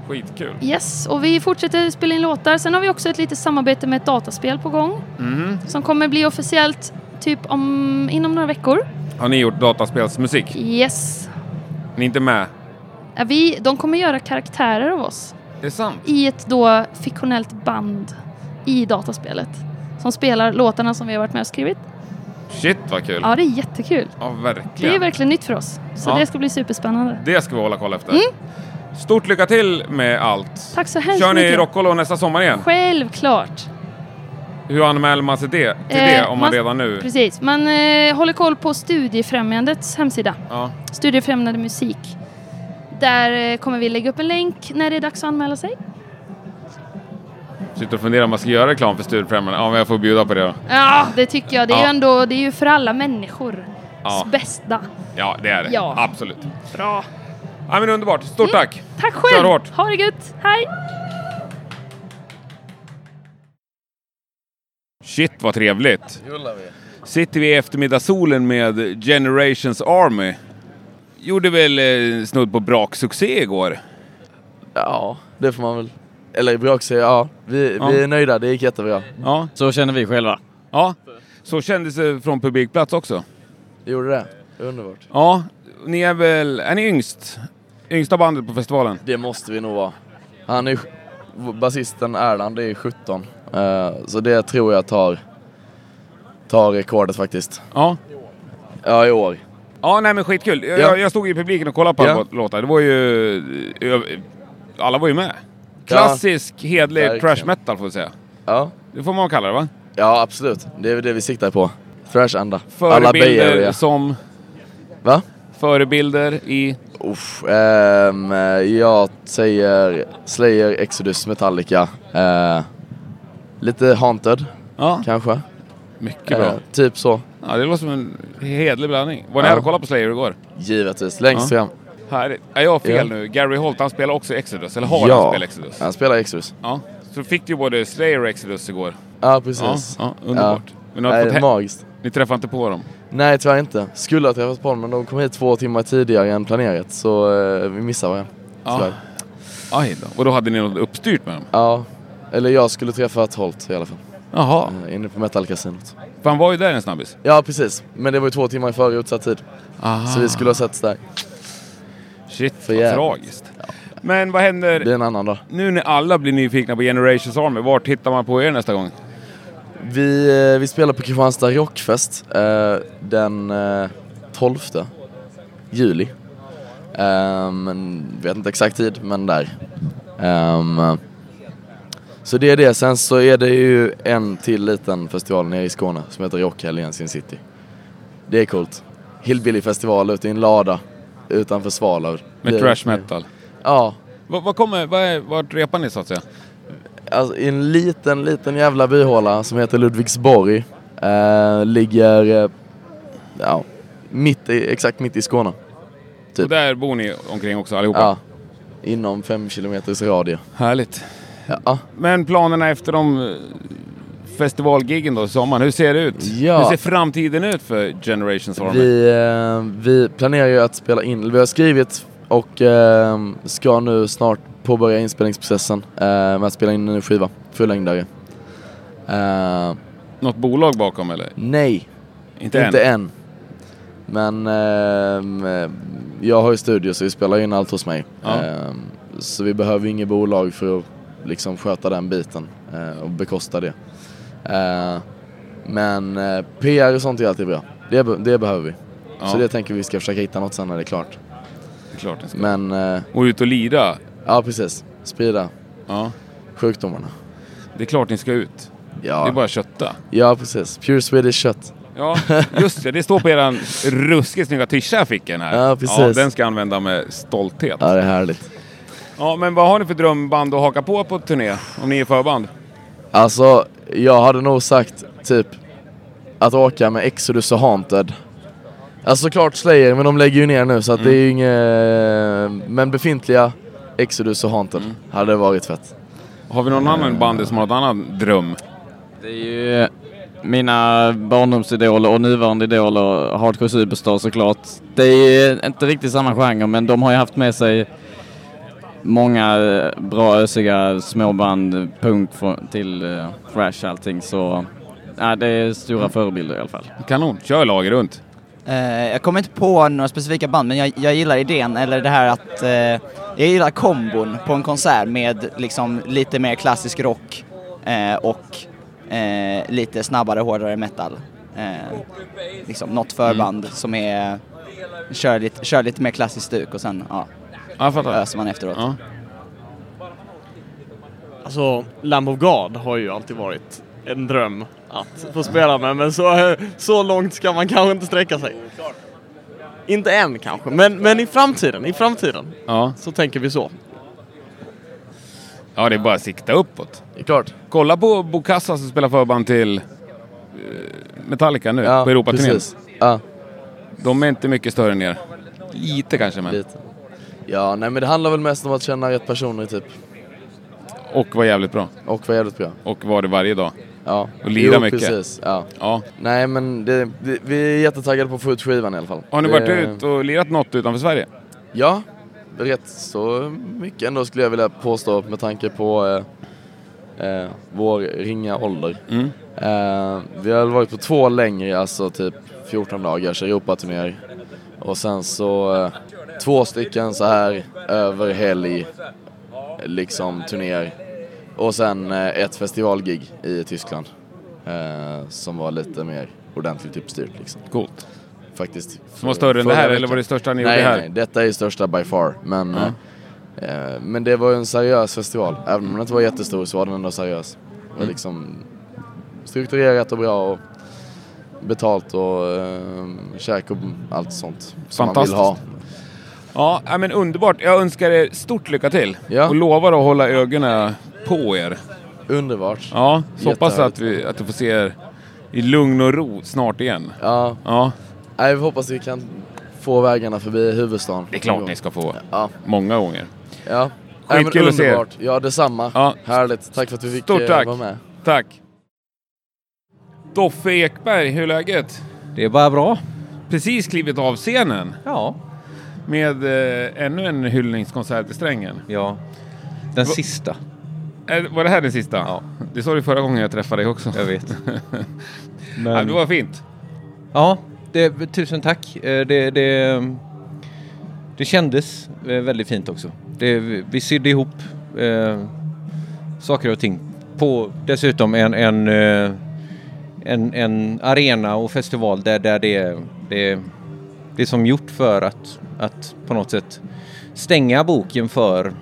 Skitkul.
Yes, och vi fortsätter spela in låtar. Sen har vi också ett litet samarbete med ett dataspel på gång.
Mhm.
Som kommer bli officiellt typ om, inom några veckor.
Har ni gjort dataspelsmusik?
Yes.
Ni är inte med?
Ja, Vi, de kommer göra karaktärer av oss.
Det är sant.
i ett då fiktionellt band i dataspelet som spelar låtarna som vi har varit med och skrivit.
Shit vad kul. Ja,
Ja, det är jättekul.
verkligen.
Det är verkligen nytt för oss, så
Ja.
det ska bli superspännande.
Det ska vi hålla koll efter. Stort lycka till med allt.
Mm. Tack så hemskt
Kör ni
mycket.
Rockkollo nästa sommar igen?
Självklart. Till
Hur anmäler man sig det, till det om man, redan nu...
Eh, Precis, man eh, håller koll på Studiefrämjandets hemsida,
Ja.
Studiefrämjande musik. Där eh, kommer vi lägga upp en länk när det är dags att anmäla sig.
Sitter och funderar om man ska göra reklam för Studiefrämjande. Ja, men jag får bjuda på det då.
Ja, det tycker jag. Det är
Ja.
ju ändå, det är ju för alla människor.
Ja.
Bästa.
Ja, det är det.
Ja.
Absolut.
Bra. Mm.
Ja, men underbart. Stort tack!
Tack själv!
Kör hårt.
Ha det gött! Hej!
Shit vad trevligt! Sitter vi i eftermiddagssolen med Generations Army. Gjorde väl eh, snudd på braksuccé igår.
Ja, det får man väl. Eller vi också, ja. Vi,
Ja.
vi är nöjda, det gick jättebra.
Ja,
Så känner vi själva.
ja. Så kändes det från publikplats också.
Vi gjorde det. Underbart.
Ja, ni är väl... Är ni yngst? Yngsta bandet på festivalen?
Det måste vi nog vara. Han är... Basisten Erland det är 17. Eh, så det tror jag tar... Tar rekordet faktiskt.
Ja.
Ja, i år.
Ja, nej men skitkul. Jag,
Ja.
jag stod i publiken och kollade på
Ja.
alla låtar. Det var ju... ö- Alla var ju med. Klassisk, hedlig
Verkligen.
thrash metal får vi säga.
Ja.
Det får man kalla det va?
Ja, absolut. Det är väl det vi siktar på. Thrash-anda. Alla
Förebilder
böjer ja.
som...
Va?
Förebilder i...
Uff, ehm, jag säger Slayer, Exodus, Metallica. Eh, lite Haunted,
Ja,
kanske.
mycket bra.
Eh, typ så.
Ja, det låter som en hedlig blandning. Var ni
Ja.
här och kollade på Slayer igår?
Givetvis. Längst fram.
Härligt. Ja, jag har fel
Ja.
nu. Gary Holt, han spelar också Exodus. Eller har han spelat Exodus?
han spelar Exodus.
Ja. Så fick du ju både Slayer och Exodus igår.
Ja, precis.
Ja, ja, underbart. Men har
Nej,
fått he-
magiskt.
Ni träffade inte på dem?
Nej, tyvärr inte. Skulle ha träffats på dem, men de kom hit två timmar tidigare än planerat. Så eh, vi missade varandra.
Ja.
Tyvärr.
Aj då. Och då hade ni något uppstyrt med dem?
Ja. Eller jag skulle träffa ett Holt i alla fall.
Jaha.
Eh, inne på Metal-kasinot.
För han var ju där en snabbis.
Ja, precis. Men det var ju två timmar före utsatt tid.
Ah.
Så vi skulle ha setts där.
Shit,
För
vad
jävligt.
tragiskt. Men vad händer
Det är en annan dag.
nu när alla blir nyfikna på Generations Army? Vart hittar man på er nästa gång?
Vi, eh, vi spelar på Kristianstad Rockfest eh, den eh, 12 juli. Eh, men vet inte exakt tid, men där. Ehm, så det är det. Sen så är det ju en till liten festival nere i Skåne som heter Rockhelgen Sin City. Det är coolt. Hillbillyfestival ute i en lada utanför Svalöv.
Med
Det-
trash metal.
Ja,
Vad, vad kommer, vad är, vart repar ni så att säga?
alltså, i en liten, liten jävla byhåla som heter Ludvigsborg. Eh, ligger eh, ja, mitt i, exakt mitt i Skåne. Typ.
Och där bor ni omkring också allihopa?
Ja, inom fem kilometers radie.
Härligt.
Ja,
Men planerna efter de eh, festivalgiggen då, i sommaren, hur ser det ut?
Ja.
Hur ser framtiden ut för Generations Army?
vi, eh, vi planerar ju att spela in, vi har skrivit och eh, ska nu snart påbörja inspelningsprocessen eh, med att spela in en ny skiva, fullängdare. Eh,
Något bolag bakom eller?
nej,
Inte,
Inte
än?
än. Men ehm, eh, jag har ju studio så vi spelar in allt hos mig.
Ja.
Ehm, så vi behöver ju inget bolag för att liksom sköta den biten eh, och bekosta det. Eh, men eh, PR och sånt är alltid bra. Det, be- det behöver vi.
Ja.
Så det tänker vi ska försöka hitta något sen när det är klart.
Det är klart den ska.
Men eh,
Och ut och lira?
ja, precis. Sprida
Ja.
sjukdomarna.
Det är klart ni ska ut. Det är
Ja,
bara att kötta.
ja precis. Pure Swedish kött.
Ja, just det. Det står på eran ruskigt snygga tischa jag fick en här.
Ja, precis.
den ska jag använda med stolthet.
Ja, det är härligt.
Ja, men vad har ni för drömband att haka på på turné? Om ni är förband?
Alltså, jag hade nog sagt typ att åka med Exodus och Haunted. Alltså såklart Slayer, men de lägger ju ner nu så att det är
Mm.
ju inget... Men befintliga Exodus och Haunted
Mm.
hade varit fett.
Har vi någon
Eh.
annan bandy som har något annat dröm?
Det är ju mina barndomsidoler och nuvarande idoler, Hardcore Superstar såklart. Det är ju inte riktigt samma genre men de har ju haft med sig många eh, bra ösiga småband, punk från- till eh, thrash allting så ja, det är stora förebilder i alla fall.
Kanon, kör lager runt.
Eh, jag kommer inte på några specifika band, men jag, jag gillar idén, eller det här att... eh, jag gillar kombon på en konsert med liksom lite mer klassisk rock eh, och eh, lite snabbare, hårdare metal. Eh, liksom något förband
Mm.
som är... Kör lite, kör lite mer klassiskt stuk och sen ja,
Ja, jag fattar.
öser man efteråt.
Ja.
Alltså, Lamb of God har ju alltid varit en dröm att få spela med, men så, så långt ska man kanske inte sträcka sig. Inte än kanske, men, men i framtiden, i framtiden
Ja.
så tänker vi så.
ja, det är bara att sikta uppåt.
Det är klart.
Kolla på Bokassa som spelar förband till eh, Metallica nu på Europaturnén.
precis. Ja,
De är inte mycket större än er. Lite kanske, men.
lite. Ja, nej men det handlar väl mest om att känna rätt personer typ.
Och var jävligt bra.
Och vara jävligt bra.
Och var det varje dag.
Ja.
Och lira
Jo,
mycket.
precis. Ja.
Ja.
Nej men det, det, vi är jättetaggade på att få ut skivan i alla fall.
Har ni
Det-
varit ut och lirat något utanför Sverige?
Ja, rätt så mycket ändå skulle jag vilja påstå med tanke på eh, eh, vår ringa ålder.
Mm.
Eh, vi har väl varit på två längre, alltså typ 14 dagars Europaturnéer. Och sen så eh, två stycken så här över helg, liksom turnéer. Och sen eh, ett festivalgig i Tyskland. Eh, som var lite mer ordentligt uppstyrt liksom.
Coolt.
Faktiskt.
Som var större än det
Förra
här,
veckan.
eller var det största ni
Nej,
gjorde här?
nej, detta är ju största by far. Men, eh, eh, men det var ju en seriös festival. Även om den inte var jättestor så var den ändå seriös. Det
Mm.
var liksom strukturerat och bra och betalt och eh, käk och allt sånt som man vill ha.
Fantastiskt. Ja, ja, men underbart. Jag önskar er stort lycka till.
Ja.
Och lovar att hålla ögonen på er.
Underbart. Ja.
Ja, så hoppas
Jättehärligt.
att, vi, att du får se er i lugn och ro snart igen. Ja,
Nej, vi hoppas vi kan få vägarna förbi huvudstaden.
det är klart ni ska få.
Ja.
Många gånger.
ja. Nej, men
Skitkul att se er.
underbart. Ja, detsamma.
Ja.
Härligt. Tack för att vi fick
Stort
eh,
tack.
vara med.
Tack! Doffe Ekberg, hur är läget?
Det är bara bra.
Precis klivit av scenen
Ja.
med eh, ännu en hyllningskonsert i Strängen.
ja. Den sista,
Eh, var det här den sista? Ja. Det sa du förra gången jag träffade dig också.
jag vet.
Ja,
Men,
det var fint.
ja, det, tusen tack. Eh, Det, det, det kändes eh, väldigt fint också. Det, vi vi sydde ihop eh, saker och ting. På dessutom en, en eh, en, en arena och festival där, där det, är- det, är- det är som gjort för att, att på något sätt stänga boken för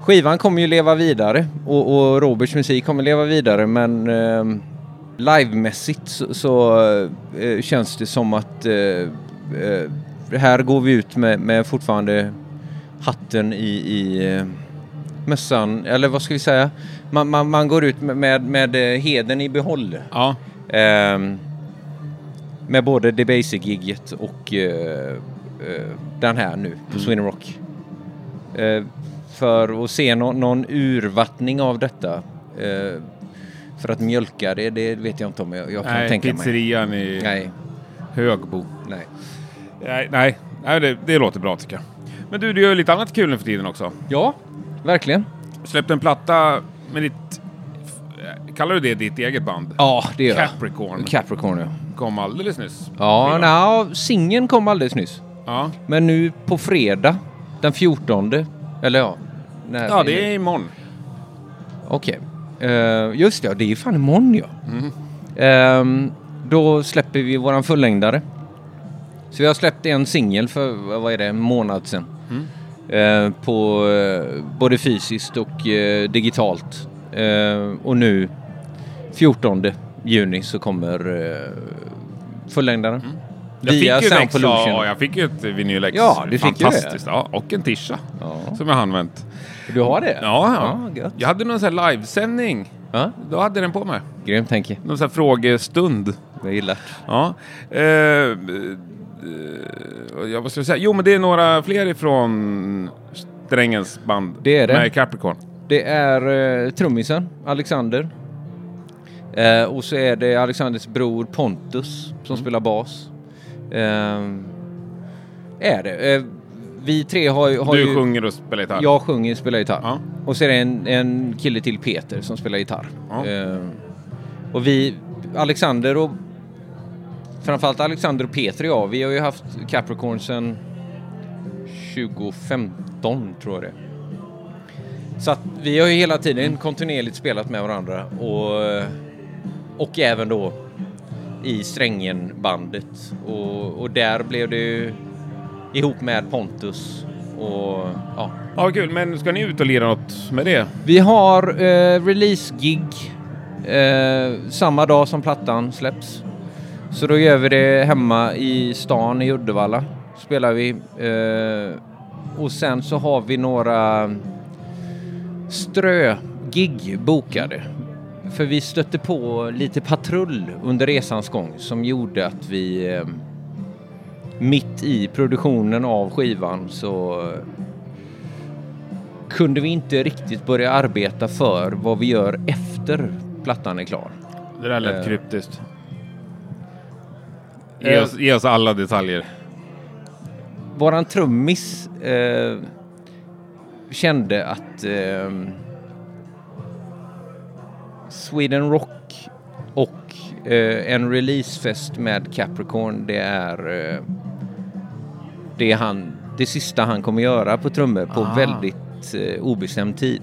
Skivan kommer ju leva vidare och, och Roberts musik kommer leva vidare men eh, livemässigt så, så eh, känns det som att eh, eh, här går vi ut med, med fortfarande hatten i, i eh, mössan, eller vad ska vi säga? Man, man, man går ut med, med, med eh, heden i behåll.
Ja.
Ehm, med både The Basic-gigget och eh, eh, den här nu på
Mm.
Sweden Rock. Eh, för att se nå- någon urvattning av detta. eh, för att mjölka det, det vet jag inte om jag, jag kan
Nej,
tänka mig.
pizzerian i
Nej,
Högbo.
nej.
Nej, nej. nej det, det låter bra tycker jag. Men du, du gör ju lite annat kul nu för tiden också.
Ja, verkligen.
Släppte en platta med ditt... eh, Kallar du det ditt eget band?
Ja, det gör jag.
Capricorn.
Capricorn, ja.
Kom alldeles nyss.
Ja, na, singeln kom alldeles nyss.
Ja.
Men nu på fredag, den 14, eller ja. när-
ja, det är imorgon.
Okej. Eh, just det, ja, det är ju fan imorgon ja.
Mm.
Ehm, då släpper vi våran fullängdare. Så vi har släppt en singel för, vad vad är det, en månad sedan.
Mm.
Ehm, på eh, både fysiskt och eh, digitalt. Ehm, och nu 14 juni så kommer eh, fullängdaren.
Mm. Jag fick, ju
Via
ett
Sound
extra,
Pollution.
ja, jag fick ju ett vinyl X.
Ja, du fick ju det.
Fantastiskt. Ja, och en tisha
Ja.
som jag har använt.
Du har det?
Ja, ja.
Ja, gött.
jag hade någon sån här livesändning.
Ja,
Då hade jag den på mig.
grymt Henke.
Någon sån här frågestund.
Jag gillar
Ja. Eh, eh, ja, vad ska jag säga? Jo, men det är några fler ifrån Strängens band.
Det är det.
Med Capricorn.
Det är eh, trummisen Alexander. Eh, och så är det Alexanders bror Pontus som
Mm.
spelar bas. Eh, är det. Eh, vi tre har, ju- har
Du
ju...
sjunger och spelar gitarr.
Jag sjunger och spelar gitarr.
Ja.
Och så är det en, en kille till, Peter, som spelar gitarr.
Ja.
Eh, och vi, Alexander och... Framförallt Alexander och Peter och jag, vi har ju haft Capricorn sedan 2015, tror jag det är. Så att vi har ju hela tiden
Mm.
kontinuerligt spelat med varandra och, och även då i Strängen-bandet. Och, och där blev det ju ihop med Pontus och ja.
Ja, vad kul. Men ska ni ut och lira något med det?
Vi har eh, release-gig eh, samma dag som plattan släpps. Så då gör vi det hemma i stan i Uddevalla. Spelar vi. Eh, och sen så har vi några strö-gig bokade. För vi stötte på lite patrull under resans gång som gjorde att vi eh, mitt i produktionen av skivan så eh, kunde vi inte riktigt börja arbeta för vad vi gör efter plattan är klar.
Det där lät
Eh.
kryptiskt. Ge oss, ge oss alla detaljer.
Våran trummis eh, kände att ehm, Sweden Rock och eh, en releasefest med Capricorn, det är eh, det, är han, det sista han kommer göra på trummor på väldigt eh, obestämd tid.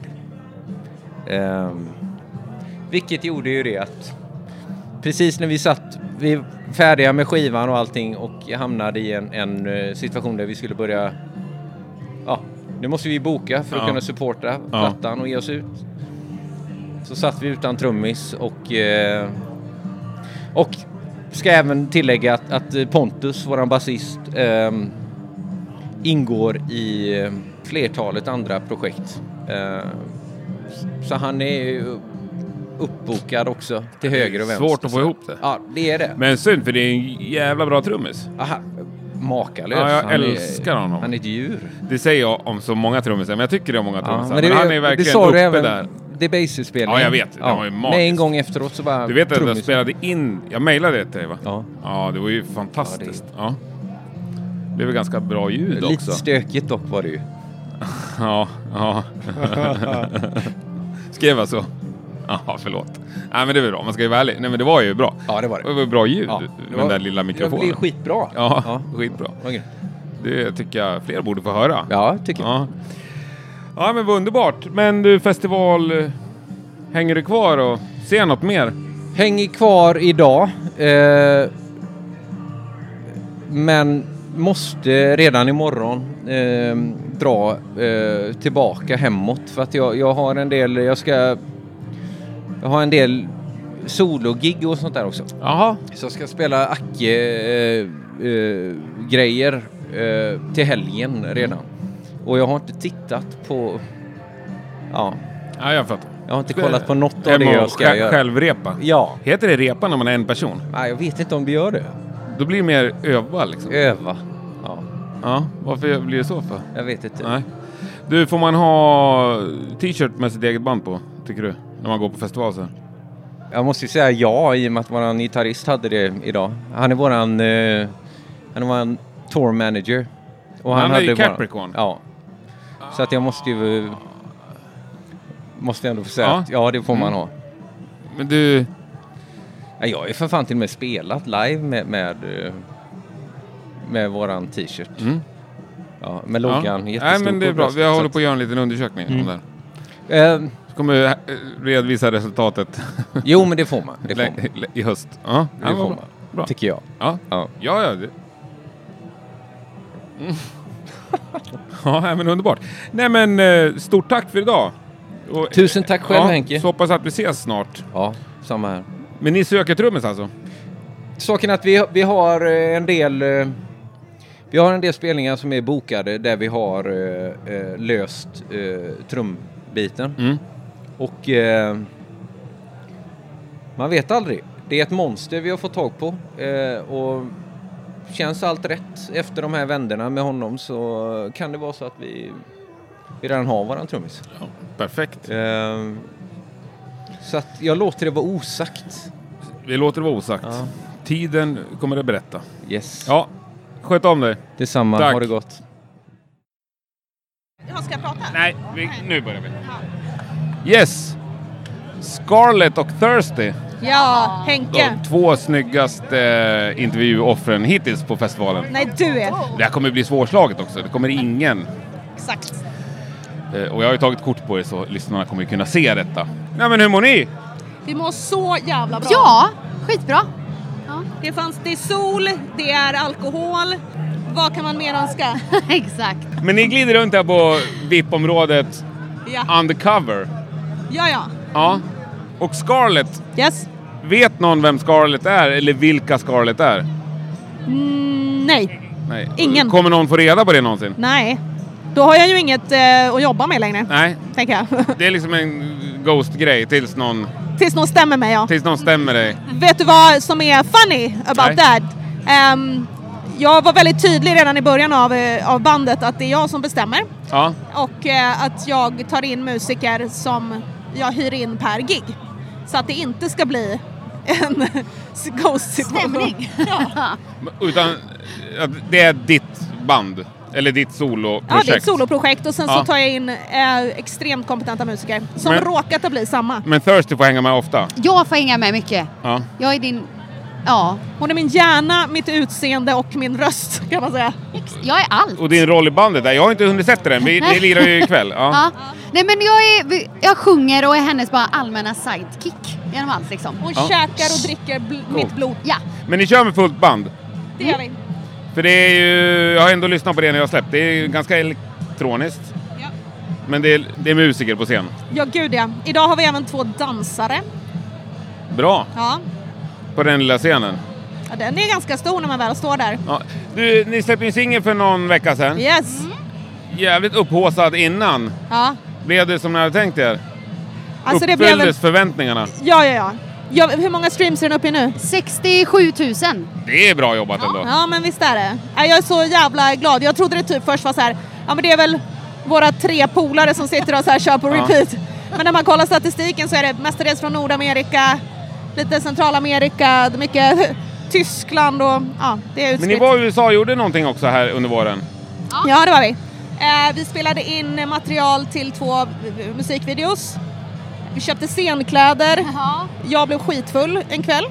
Ehm, vilket gjorde ju det att precis när vi satt, vi är färdiga med skivan och allting och hamnade i en, en eh, situation där vi skulle börja, ja, nu måste vi boka för att
Ja.
kunna supporta
Ja.
plattan och ge oss ut. Så satt vi utan trummis och, eh, och ska även tillägga att, att eh, Pontus, våran basist, ehm, ingår i eh, flertalet andra projekt. Eh, så han är ju uppbokad också till höger och vänster.
Svårt att få ihop det.
Ja, det är det.
Men synd, för det är en jävla bra trummis.
Aha. Makalös.
Ja, jag
Han är-
älskar honom.
Han är ett djur.
Det säger jag om så många trummisar, men jag tycker det om många trummisar. men,
det-
han är
det
verkligen
sa
uppe
du även,
där.
Det Basie-spelningen.
Ja, jag vet. Den var ju magisk.
Med en gång efteråt så bara...
Du vet att jag
trummis.
spelade in... Jag mejlade det till dig va?
Ja.
Ja, det var ju fantastiskt. Ja. Det blev ganska bra ljud
Lite
också.
stökigt dock var det ju.
Ja, ja. Skrev jag så? Ja, förlåt. Nej, men det var bra. Man ska ju vara ärlig. Nej, men det var ju bra.
Ja, det var det.
Det var bra ljud
Ja,
med
det var-
den där lilla
Det
mikrofonen.
blev skitbra.
Ja,
Ja.
skitbra.
Vad grymt.
Det tycker jag fler borde få höra.
Ja, tycker jag.
Ja, ja men vad underbart. Men du, festival... eh, Hänger du kvar och ser något mer?
Häng kvar idag. Eh, men måste redan imorgon eh, dra eh, tillbaka hemåt för att jag, jag har en del, jag ska, jag har en del sologig och sånt där också.
Jaha.
Så jag ska spela Acke-grejer eh, eh, grejer, eh, till helgen redan. Och jag har inte tittat på... Ja,
Ja, jag fattar.
jag har inte kollat på något av det jag ska göra.
Självrepa.
Ja,
Heter det repa när man är en person?
Nej, jag vet inte om det gör det.
Då blir det mer öva liksom.
Öva. Ja,
Ja, varför blir det så för?
jag vet inte.
Nej. Du, får man ha t-shirt med sitt eget band på, tycker du? När man går på festival sen?
Jag måste ju säga ja i och med att våran gitarrist hade det idag. Han är våran... Eh, han är våran tour manager. Och
Han är ju
hade våran-
Capricorn.
Ja. Så att jag måste ju... eh, Måste jag ändå få säga
Ja. Mm.
att ja, det får man ha.
Men du,
Ja, jag har ju för fan till och med spelat live med, med, eh, med våran t-shirt. Ja, med loggan.
Mm. Ja.
Jättestor
Nej, men det är
på
bra. Vi
bröstet, så
håller
att- Mm.
på att göra en liten undersökning om det här.
Eh,
Så kommer vi eh, redovisa resultatet
jo, men det får man. Det får man.
lä- lä- i höst. Ja,
Det
vad
får
bra.
man.
Bra.
Tycker jag.
Ja,
Ja.
ja. ja det. Mm. ja, nej, men underbart. Nej, men eh, stort tack för idag. Och,
Tusen tack själv
ja,
Henke.
Så hoppas att vi ses snart.
Ja, samma här.
Men ni söker trummis alltså?
Saken är att vi, vi har eh, en del... eh, Vi har en del spelningar som är bokade där vi har eh, eh, löst eh, trumbiten.
Mm.
Och... Eh, man vet aldrig. Det är ett monster vi har fått tag på. Eh, och känns allt rätt efter de här vänderna med honom så kan det vara så att vi, vi redan har våran trummis.
Perfekt.
Eh, så att jag låter det vara osagt.
Vi låter det vara osagt.
Ja.
Tiden kommer att berätta.
Yes.
Ja, sköt om dig.
Detsamma.
Tack.
Ha det gott.
Nej, nu börjar vi. Yes! Scarlett och Thirsty.
Ja, Henke.
De två snyggaste eh, intervjuoffren hittills på festivalen.
Nej, du är.
Det här kommer bli svårslaget också. Det kommer ingen.
Exakt.
eh, Och jag har ju tagit kort på det så lyssnarna kommer ju kunna se detta. Nej men hur mår ni?
Vi mår så jävla bra.
Ja, skitbra.
Det, fanns, det är sol, det är alkohol. Vad kan man mer önska?
Exakt.
Men ni glider runt här på VIP-området
Ja,
undercover.
ja. ja.
Ja. Och Scarlett.
Yes?
Vet någon vem Scarlett är eller vilka Scarlett är?
Mm, nej.
Nej.
Ingen.
Kommer någon få reda på det någonsin?
Nej. Då har jag ju inget eh, att jobba med längre,
Nej.
tänker jag.
Det är liksom en ghost-grej tills någon,
Tills någon stämmer mig, ja.
tills någon stämmer dig.
Vet du vad som är funny
Nej.
about that? Ehm, jag var väldigt tydlig redan i början av, eh, av bandet att det är jag som bestämmer
Ja.
och eh, att jag tar in musiker som jag hyr in per gig. Så att det inte ska bli en ghost-situation.
Stämning.
Utan eh, det är ditt band. Eller ditt soloprojekt.
Ja, det är ett soloprojekt och sen
Ja.
så tar jag in eh, extremt kompetenta musiker som
Men-
råkat att bli samma.
Men Thirsty får hänga med ofta.
Jag får hänga med mycket.
Ja.
Jag är din... Ja,
Hon är min hjärna, mitt utseende och min röst kan man säga.
ex- jag är allt.
Och din roll i bandet där, jag har inte hunnit sett den. Vi, ni lirar ju ikväll. Ja.
Ja. Nej men jag, är, vi- jag sjunger och är hennes bara allmänna sidekick genom allt liksom.
Hon
Ja.
käkar och dricker bl- mitt blod.
Ja,
Men ni kör med fullt band.
Det gör vi.
För det är ju, jag har ändå lyssnat på det när jag släppt. Det är ju ganska elektroniskt.
Ja.
Men det är, det är musiker på scen.
Ja, gud ja. Idag har vi även två dansare.
Bra,
Ja.
på den lilla scenen.
ja den är ganska stor när man väl står där.
Ja. Du, ni släppte ju en singel för någon vecka sedan.
Yes.
Jävligt upphaussad innan.
Ja.
Blev det som ni hade tänkt er?
Alltså det
Uppfylldes
blev... en-
förväntningarna?
Ja, ja, ja. ja. Hur många streams är den uppe i nu?
67 000.
Det är bra jobbat ändå.
Ja, men visst är det. Nej, Jag är så jävla glad. Jag trodde det typ först var så här, ja men det är väl våra tre polare som sitter och så här kör på repeat. Men när man kollar statistiken så är det mestadels från Nordamerika, lite Centralamerika, det är mycket Tyskland och ja, det är
Men ni
utspritt.
var i USA och gjorde någonting också här under våren.
Ja, det var vi. Eh, vi spelade in material till två eh, musikvideos. Vi köpte scenkläder.
Ja,
Jag blev skitfull en kväll.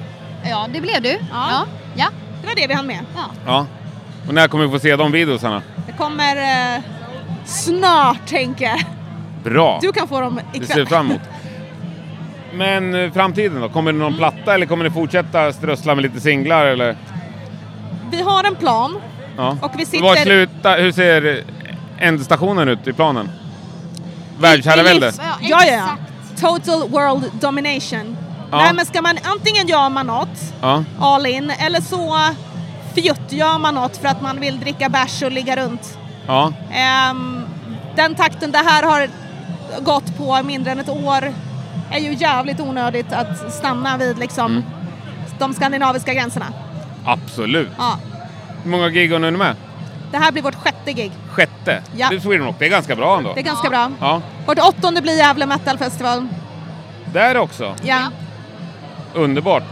ja det blev du. Ja. Ja.
Det var det vi hann med.
Ja. Och när kommer vi få se de videosarna?
Det kommer eh, snart, Henke.
Bra!
Du kan få dem
Det ser vi
ikväll.
fram emot. Men eh, framtiden då? Kommer det någon platta eller kommer ni fortsätta strössla med lite singlar eller?
Vi har en plan
Ja.
och vi
Var
sitter...
sluta, hur ser ändstationen ut i planen? Världsherravälde?
Ja,
Ja, ja, ja.
exakt.
Total world domination.
Ja.
Nej, men ska man, antingen gör man något
Ja.
all in eller så fjuttgör man något för att man vill dricka bärs och ligga runt.
ja.
Ehm, den takten det här har gått på mindre än ett år är ju jävligt onödigt att stanna vid liksom
Mm.
de skandinaviska gränserna.
Absolut.
Ja.
Hur många gig har ni nu med?
Det här blir vårt sjätte gig.
Sjätte?
Ja.
Det är Sweden Rock, det är ganska bra ändå.
Det är ganska bra.
Ja,
Vårt åttonde blir Gävle Metal Festival.
där också.
Ja.
Underbart.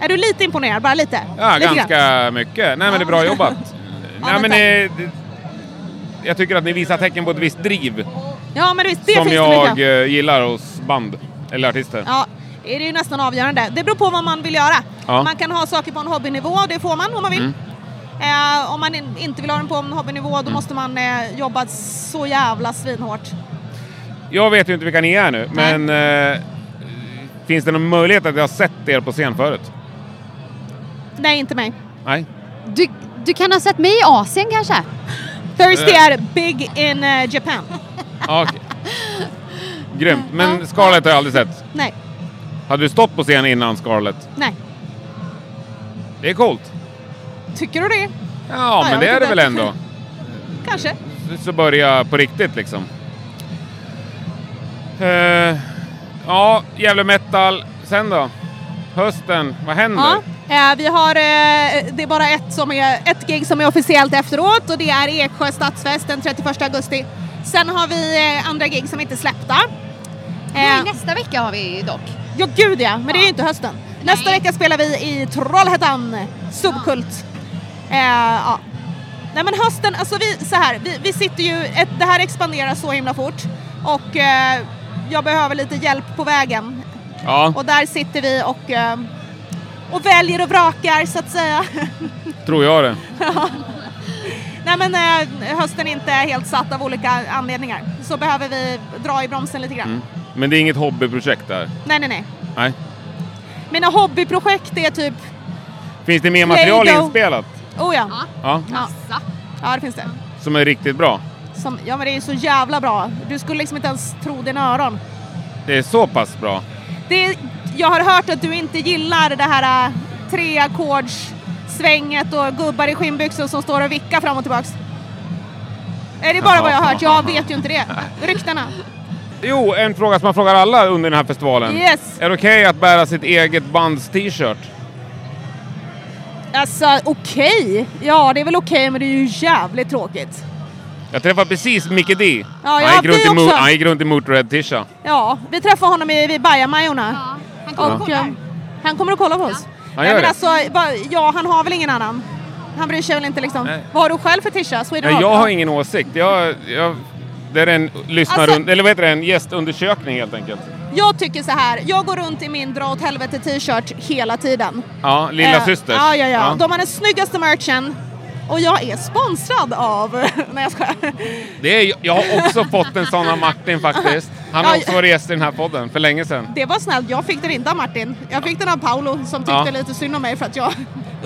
Är du lite imponerad? Bara lite?
Ja,
lite
ganska
grann.
mycket. Nej, men det är bra jobbat. Nej,
men
men
tack.
eh, det- jag tycker att ni visar tecken på ett visst driv
Ja, men visst, det
som
finns det
jag
mycket.
eh, gillar hos band eller artister.
Ja, det är ju nästan avgörande. Det beror på vad man vill göra.
Ja.
Man kan ha saker på en hobbynivå, det får man om man vill. Eh, om man in, inte vill ha den på en hobbynivå då måste man eh, jobba så jävla svinhårt.
Jag vet ju inte vilka ni är nu,
Nej.
men eh, finns det någon möjlighet att jag har sett er på scen förut?
Nej, inte mig.
Nej.
Du, du kan ha sett mig i Asien kanske?
Thirsty är big in eh, Japan.
Ja, okej. Grymt. Men Scarlett har jag aldrig sett.
Nej,
Hade du stått på scen innan Scarlett?
nej.
Det är coolt.
Tycker du det?
Ja, men
jag
det är
vet
det
inte.
väl ändå.
Kanske.
Så börja på riktigt liksom. Eh, ja, Gävle Metal. Sen då? Hösten, vad händer?
Ja. Eh, vi har, eh, det är bara ett, som är, ett gig som är officiellt efteråt och det är Eksjö stadsfest den 31 augusti. Sen har vi eh, andra gig som inte är släppta.
Nej,
Eh,
nästa vecka har vi dock.
Ja, gud ja, men det är ju inte hösten. Nästa
Nej.
vecka spelar vi i Trollhättan, Subkult. Eh, ja. Nej men hösten, alltså vi, så här, vi, vi sitter ju, ett, det här expanderar så himla fort och eh, jag behöver lite hjälp på vägen.
Ja,
Och där sitter vi och, eh, och väljer och vrakar så att säga.
tror jag det.
Nej men eh, hösten är inte helt satt av olika anledningar. Så behöver vi dra i bromsen lite
Mm.
grann.
Men det är inget hobbyprojekt där?
Nej, nej, nej.
Nej.
Mina hobbyprojekt är typ,
Finns det mer material
Play-Doh.
inspelat?
oh ja,
Ja,
Massa.
ja det finns det.
som är riktigt bra.
Som, ja men det är ju så jävla bra. Du skulle liksom inte ens tro dina öron.
Det är så pass bra.
Det är, jag har hört att du inte gillar det här äh, treackordssvänget och gubbar i skinnbyxor som står och vickar fram och tillbaks. Är det bara vad jag har hört? Jag vet ju inte det. Ryktena.
Jo, en fråga som man frågar alla under den här festivalen.
Yes.
Är det okej att bära sitt eget bands t-shirt?
Alltså okej. Ja, det är väl okej, men det är ju jävligt tråkigt.
Jag träffade precis Micke D.
Ja, ja,
han, gick
vi
runt i Mo-
också.
han gick runt i Motörhead t-shirt.
Ja, vi träffade honom i, vid Bajamajorna.
Ja. Han kommer och
Och,
kollar.
eh, han kommer att kolla på oss.
Han
Nej,
gör
men
det.
alltså, va- ja, han har väl ingen annan. Han bryr sig väl inte liksom.
Nej.
Vad har du själv för t-shirt? Sweden
Nej,
Rock?
jag har ingen åsikt. Jag, jag, det är en lyssnarund,
Alltså-
eller vad heter det, en gästundersökning helt enkelt.
Jag tycker så här, jag går runt i min dra åt helvete t-shirt hela tiden.
Ja, lilla
Eh,
systers.
Ja, ja, ja, De har den snyggaste merchen. Och jag är sponsrad av... Nej, jag skojar.
Det är, jag har också fått en sån av Martin faktiskt. Han har
Ja,
också varit gäst i den här podden för länge sedan.
Det var snällt, jag fick den inte av Martin. Jag fick den av Paolo som tyckte
Ja.
lite synd om mig för att jag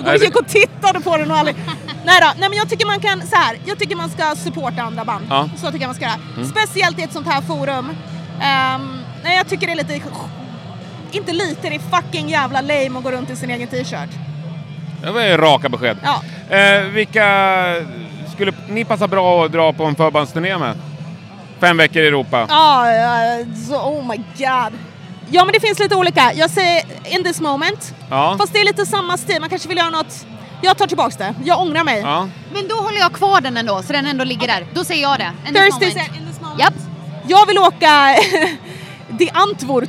Nej, det-
gick och tittade på den och aldrig... Nej då, nej men jag tycker man kan så här, jag tycker man ska supporta andra band.
Ja. Mm.
Så tycker jag man ska göra. Speciellt i ett sånt här forum. Ehm, nej, jag tycker det är lite... Inte lite, det är fucking jävla lame att gå runt i sin egen t-shirt.
Det var ju raka besked.
Ja.
Eh, vilka skulle ni passa bra att dra på en förbandsturné med? Fem veckor i Europa.
Ja, ja, Ah, så- oh my god. Ja, men det finns lite olika. Jag säger in this moment.
Ja.
Fast det är lite samma stil. Man kanske vill göra något... Jag tar tillbaks det. Jag ångrar mig.
Ja.
Men då håller jag kvar den ändå, så den ändå ligger där. Då säger jag det. En
Thursday
moment.
said in this moment.
Japp.
Jag vill åka Die Antwoord.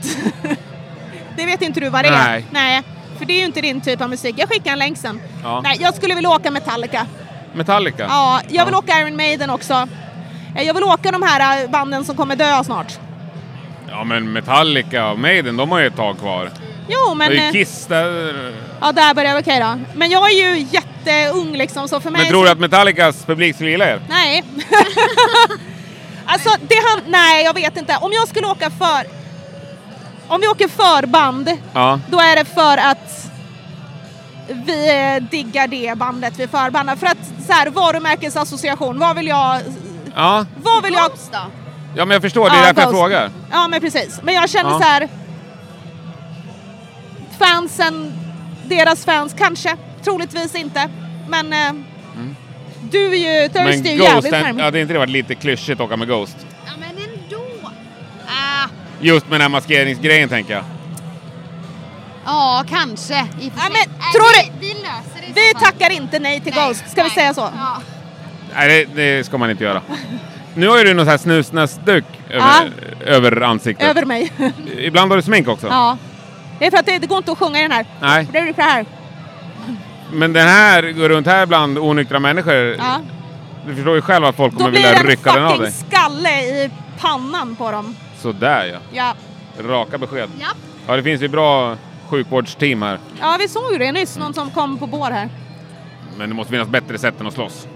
det vet inte du vad det är.
Nej.
Nej. För det är ju inte din typ av musik. Jag skickar en länk sen.
Ja.
Nej, jag skulle vilja åka Metallica.
Metallica.
Ja, jag vill åka Iron Maiden också. Eh, Jag vill åka de här eh, banden som kommer dö snart.
Ja, men Metallica och Maiden, de har ju ett tag kvar.
Jo, men...
Men,
eh,
Kiss där...
Ja, där börjar jag okej då. Men jag är ju jätteung liksom, så för mig...
Men tror du att Metallicas publik skulle gilla er?
Nej. alltså, det han... Nej, jag vet inte. Om jag skulle åka för... om vi åker förband,
Ja.
då är det för att vi eh, diggar det bandet vi förbandar. För att så här, varumärkesassociation, vad vill jag...
Ja.
Vad vill jag...
Ghost då?
ja, men jag förstår. Det är
Ja,
därför jag
Ghost.
frågar.
Ja men precis. Men jag känner
Ja.
så här. Fansen, deras fans kanske, troligtvis inte. Men eh,
Mm.
du är ju Thirsty är ju jävligt
den-
närmare.
hade inte det varit lite klyschigt att åka med Ghost?
Ja men ändå. Ah,
Just med den här maskeringsgrejen tänker jag.
ja, kanske. I och för
Ja,
sig.
men
Nej,
tror
vi, vi löser det i
Vi
så fall.
tackar inte nej till
Nej,
Ghost, ska vi
nej.
säga så?
Ja.
Nej, det, det ska man inte göra. Nu har ju du någon sån här snusnäsduk över, över ansiktet.
Över mig.
Ibland har du smink också.
ja. Det är för att det, det går inte att sjunga i den här.
Nej,
Det blir för här.
men den här går runt här bland onyktra människor.
Ja.
Du förstår ju själv att folk
Då
kommer
blir
vilja
det en
rycka den av
fucking
dig.
skalle i pannan på dem.
Sådär ja.
Ja.
Raka besked.
Japp.
Ja, det finns ju bra sjukvårdsteam här.
ja, vi såg ju det nyss, någon som kom på bår här.
Men det måste finnas bättre sätt än att slåss.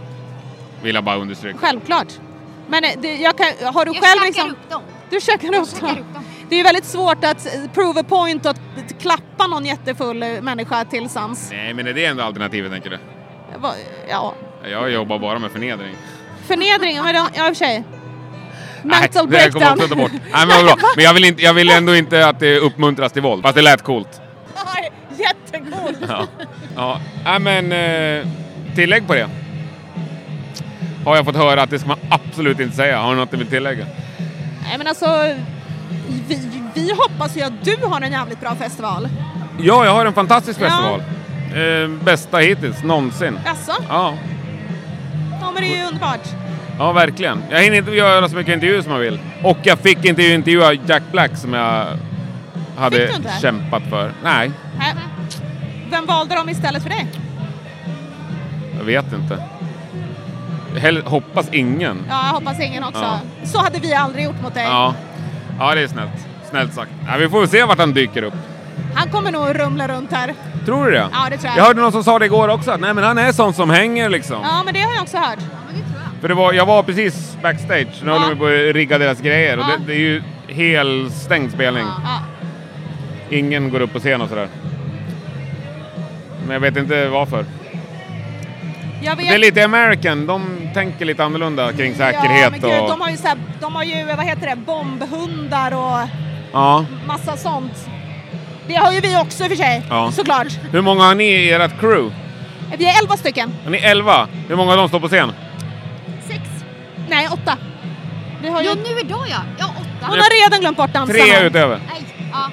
Vill jag bara understryka.
Självklart. Men eh, det, jag kan, har du
Jag
själv
käkar
liksom...
upp dem.
Du käkar
Jag
upp
käkar
dem.
upp dem.
Det är ju väldigt svårt att eh, prove a point och att klappa någon jättefull eh, människa till sans.
Nej, men är det ändå alternativet tänker du?
Va- Ja.
Jag jobbar bara med förnedring.
Förnedring, men det- ja i och för sig. Mental
Nej, det där kommer jag
breakdown.
också ta bort. Nej, men, vad bra. men jag vill, inte, jag vill ändå inte att det uppmuntras till våld. Fast det lät coolt.
Nej, Jättegod!
Ja. ja. Nej, men eh, tillägg på det. Har jag fått höra att det ska man absolut inte säga. Har du något du vill tillägga?
Nej men alltså, vi, vi hoppas ju att du har en jävligt bra festival.
Ja, jag har en fantastisk
Ja.
festival. Eh, bästa hittills, någonsin.
Jaså?
Ja.
Ja men det är ju underbart.
ja, verkligen. Jag hinner inte göra så mycket intervjuer som jag vill. Och jag fick inte intervjua Jack Black som jag hade
Fick du inte?
kämpat för. Nej,
Här. Vem valde de istället för dig?
jag vet inte. Hell- hoppas ingen.
Ja, jag hoppas ingen också.
Ja.
Så hade vi aldrig gjort mot dig.
Ja. ja, det är snällt. Snällt sagt. Ja, vi får väl se vart han dyker upp.
Han kommer nog rumla runt här.
Tror du det?
Ja, det tror jag.
Jag hörde någon som sa det igår också. att, Nej, men han är sån som hänger liksom.
Ja, men det har jag också hört.
För det var, jag var precis backstage. Nu
Ja.
håller vi på att rigga deras grejer. Och
Ja.
det, det är ju helt stängd spelning.
Ja.
Ingen går upp på scen och sådär. Men jag vet inte varför.
Jag
Det är
vet...
lite American. De tänker lite annorlunda kring
ja,
säkerhet
men gud,
och...
de har ju så här, de har ju, vad heter det, bombhundar och
Ja.
massa sånt. Det har ju vi också i och för sig,
Ja.
såklart.
Hur många har ni i ert crew?
Vi är elva stycken.
Har ni 11? Hur många av dem står på scen?
Sex.
Nej, åtta. Vi har ju...
Ja, nu idag ja. Ja, åtta.
Han har redan glömt bort dansarna.
Tre utöver.
Nej, ja.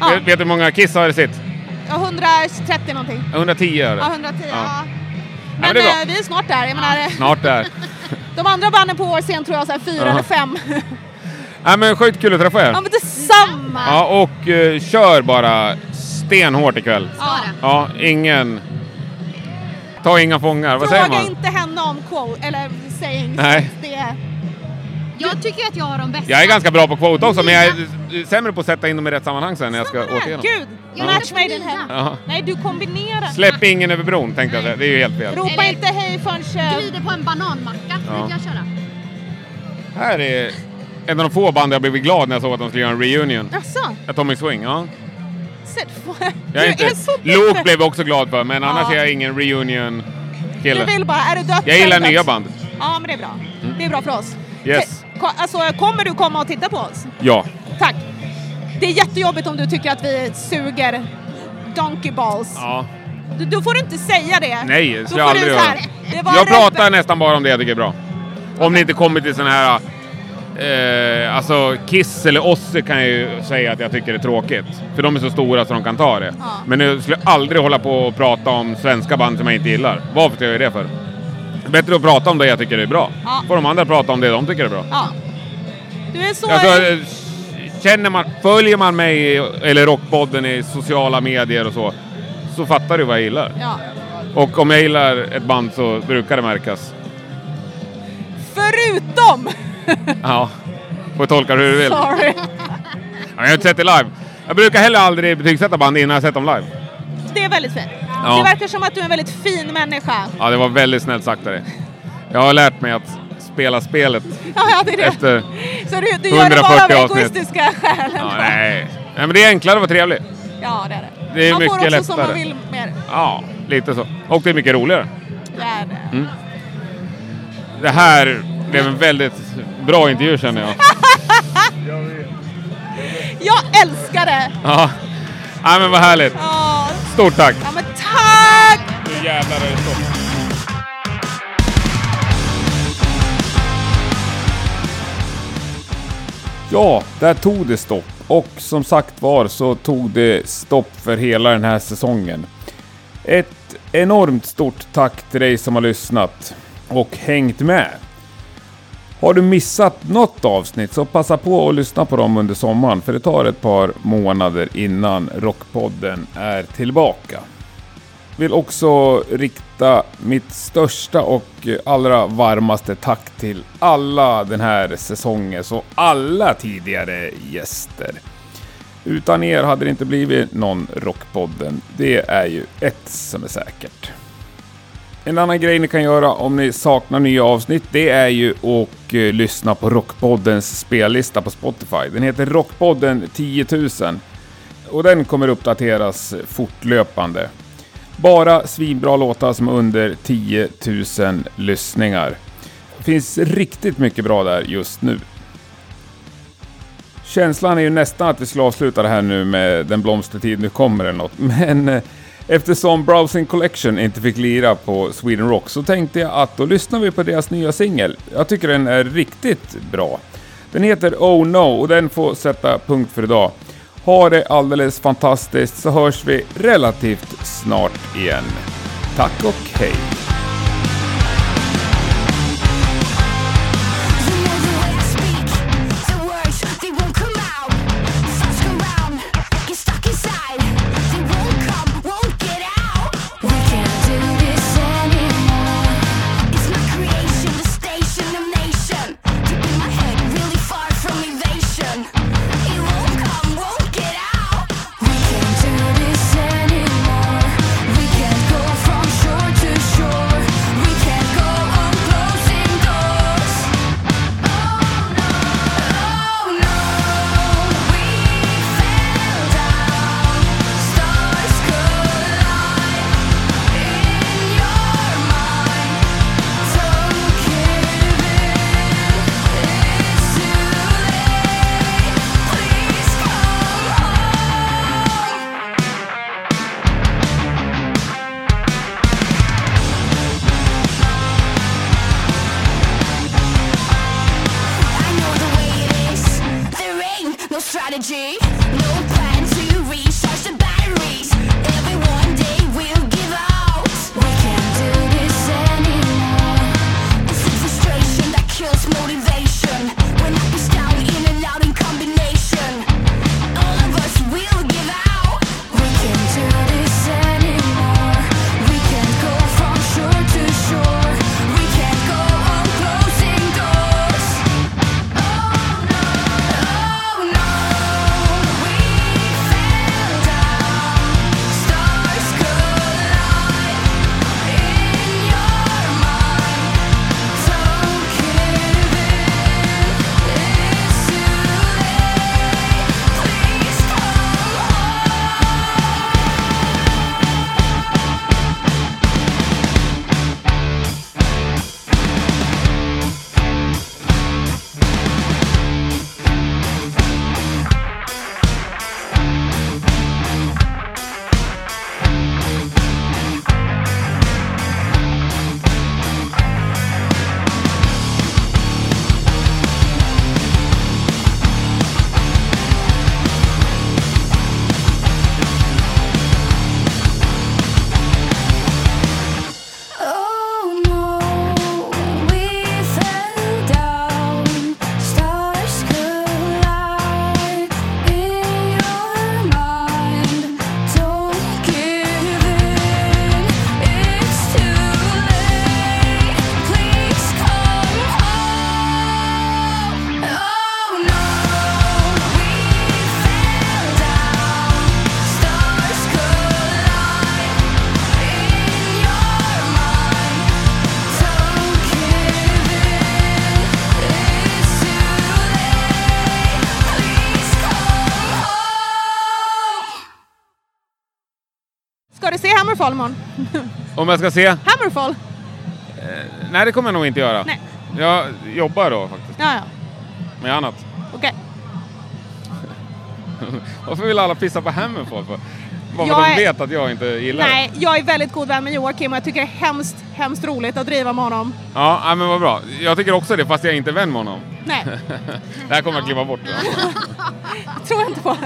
Ja.
Vet, vet du hur många Kiss har i sitt?
Ja, 130 någonting.
110 är det.
Ja, 110. Ja.
Ja. men
Men
det är bra.
eh, vi är snart där. Jag menar, eh,
Snart där.
de andra banden på vår scen tror jag så här fyra
Ja.
eller fem.
Nej men sjukt kul att träffa er.
ja, men detsamma!
Ja, och eh, kör bara stenhårt ikväll.
Ja.
Ja, ingen... Ta inga fångar, vad säger
Fråga
man?
inte henne om quote, eller sayings.
Nej.
Det är...
Jag tycker att jag har de bästa.
Jag är ganska bra på quote också, men jag är sämre på att sätta in dem i rätt sammanhang sen när jag ska
Samma
åka
här,
igenom.
Gud!
Jag
Match
är
made in
mina.
heaven.
Ja.
Nej, du kombinerar.
Släpp ingen över bron tänkte jag säga, det är ju helt fel.
Ropa
Eller-
inte hej förrän... eh,
Glider på en bananmacka.
Ja.
Ja. brukar jag köra.
Här är en av de få band jag blev glad när jag såg att de skulle göra en reunion.
Jaså?
Atomic Swing, ja.
Sätt- Du
Jag
är,
är inte...
så
Lok
dum.
blev jag också glad för, men annars
Ja.
är jag ingen
Du
reunion-kille.
vill bara, är du döpt så
Jag
är
gillar
du döpt.
nya band.
Ja, men det är bra. Det är bra för oss.
Yes.
Te- ko- Alltså, kommer du komma och titta på oss?
Ja.
Tack. Det är jättejobbigt om du tycker att vi suger donkey balls.
ja.
Du, då får du inte säga det.
Nej, det
Då
ska jag
får du
aldrig
så här,
göra.
det var
Jag
rätt-
pratar nästan bara om det jag tycker är bra. Om det inte kommer till sån här... Eh, alltså Kiss eller Ozzy kan jag ju säga att jag tycker är tråkigt. För de är så stora så de kan ta det.
Ja.
Men jag skulle aldrig hålla på och prata om svenska band som jag inte gillar. Varför ska jag göra det för? Bättre att prata om det jag tycker är bra.
Ja.
Får de andra prata om det de tycker är bra.
Ja. Du är så...
Alltså, eh, känner man, följer man mig, i- eller Rockpodden i sociala medier och så, så fattar du vad jag gillar.
ja.
Och om jag gillar ett band så brukar det märkas.
Förutom...
Ja, får tolka det hur du vill. Ja,
Sorry.
men Jag har inte sett det live. Jag brukar heller aldrig betygsätta band innan jag sett dem live.
Det är väldigt fint.
Ja.
Det verkar som att du är en väldigt fin människa.
Ja, det var väldigt snällt sagt av dig. Jag har lärt mig att spela spelet
Ja, ja det är det.
efter...
Så du, du gör det bara av
140 avsnitt.
egoistiska skäl.
Ja, nej. Nej, men det är enklare att vara trevlig.
Ja, det är det.
Det är
man får också
mycket
som man
lättare.
vill mer.
Ja, lite så. Och det är mycket roligare.
Det är det.
Mm. Det här blev en väldigt bra intervju känner jag.
Jag älskar det!
Ja, ja men vad härligt.
Ja,
Stort tack!
ja men tack!
Nu jävlar är det stopp. Ja, där tog det stopp. Och som sagt var så tog det stopp för hela den här säsongen. Ett enormt stort tack till dig som har lyssnat och hängt med. Har du missat något avsnitt så passa på att lyssna på dem under sommaren för det tar ett par månader innan Rockpodden är tillbaka vill också rikta mitt största och allra varmaste tack till alla den här säsongen och alla tidigare gäster. Utan er hade det inte blivit någon Rockpodden. Det är ju ett som är säkert. En annan grej ni kan göra om ni saknar nya avsnitt, det är ju att eh, lyssna på Rockpoddens spellista på Spotify. Den heter Rockpodden 10 000 och den kommer uppdateras fortlöpande. Bara svinbra låtar som är under 10 000 lyssningar. Det finns riktigt mycket bra där just nu. Känslan är ju nästan att vi skulle avsluta det här nu med Den blomstertid nu kommer eller något, men eh, eftersom Browsing Collection inte fick lira på Sweden Rock så tänkte jag att då lyssnar vi på deras nya singel. Jag tycker den är riktigt bra. Den heter Oh No och den får sätta punkt för idag. Ha det alldeles fantastiskt så hörs vi relativt snart igen. Tack och hej!
Shore to shore Oh, Ska du se Hammerfall imorgon?
Om jag ska se?
Hammerfall?
Nej, det kommer jag nog inte göra.
Nej.
Jag jobbar då faktiskt,
Ja, ja.
med annat.
Okej.
Varför vill alla pissa på Hammerfall? För? Bara för
Jag
att de
är-
vet att jag inte gillar det?
Nej, jag är väldigt god vän med Joakim och jag tycker det är hemskt, hemskt roligt att driva med honom.
Ja, nej, men vad bra. Jag tycker också det, fast jag är inte vän med honom.
Nej,
Det här kommer jag klippa bort. va?
tror jag inte på.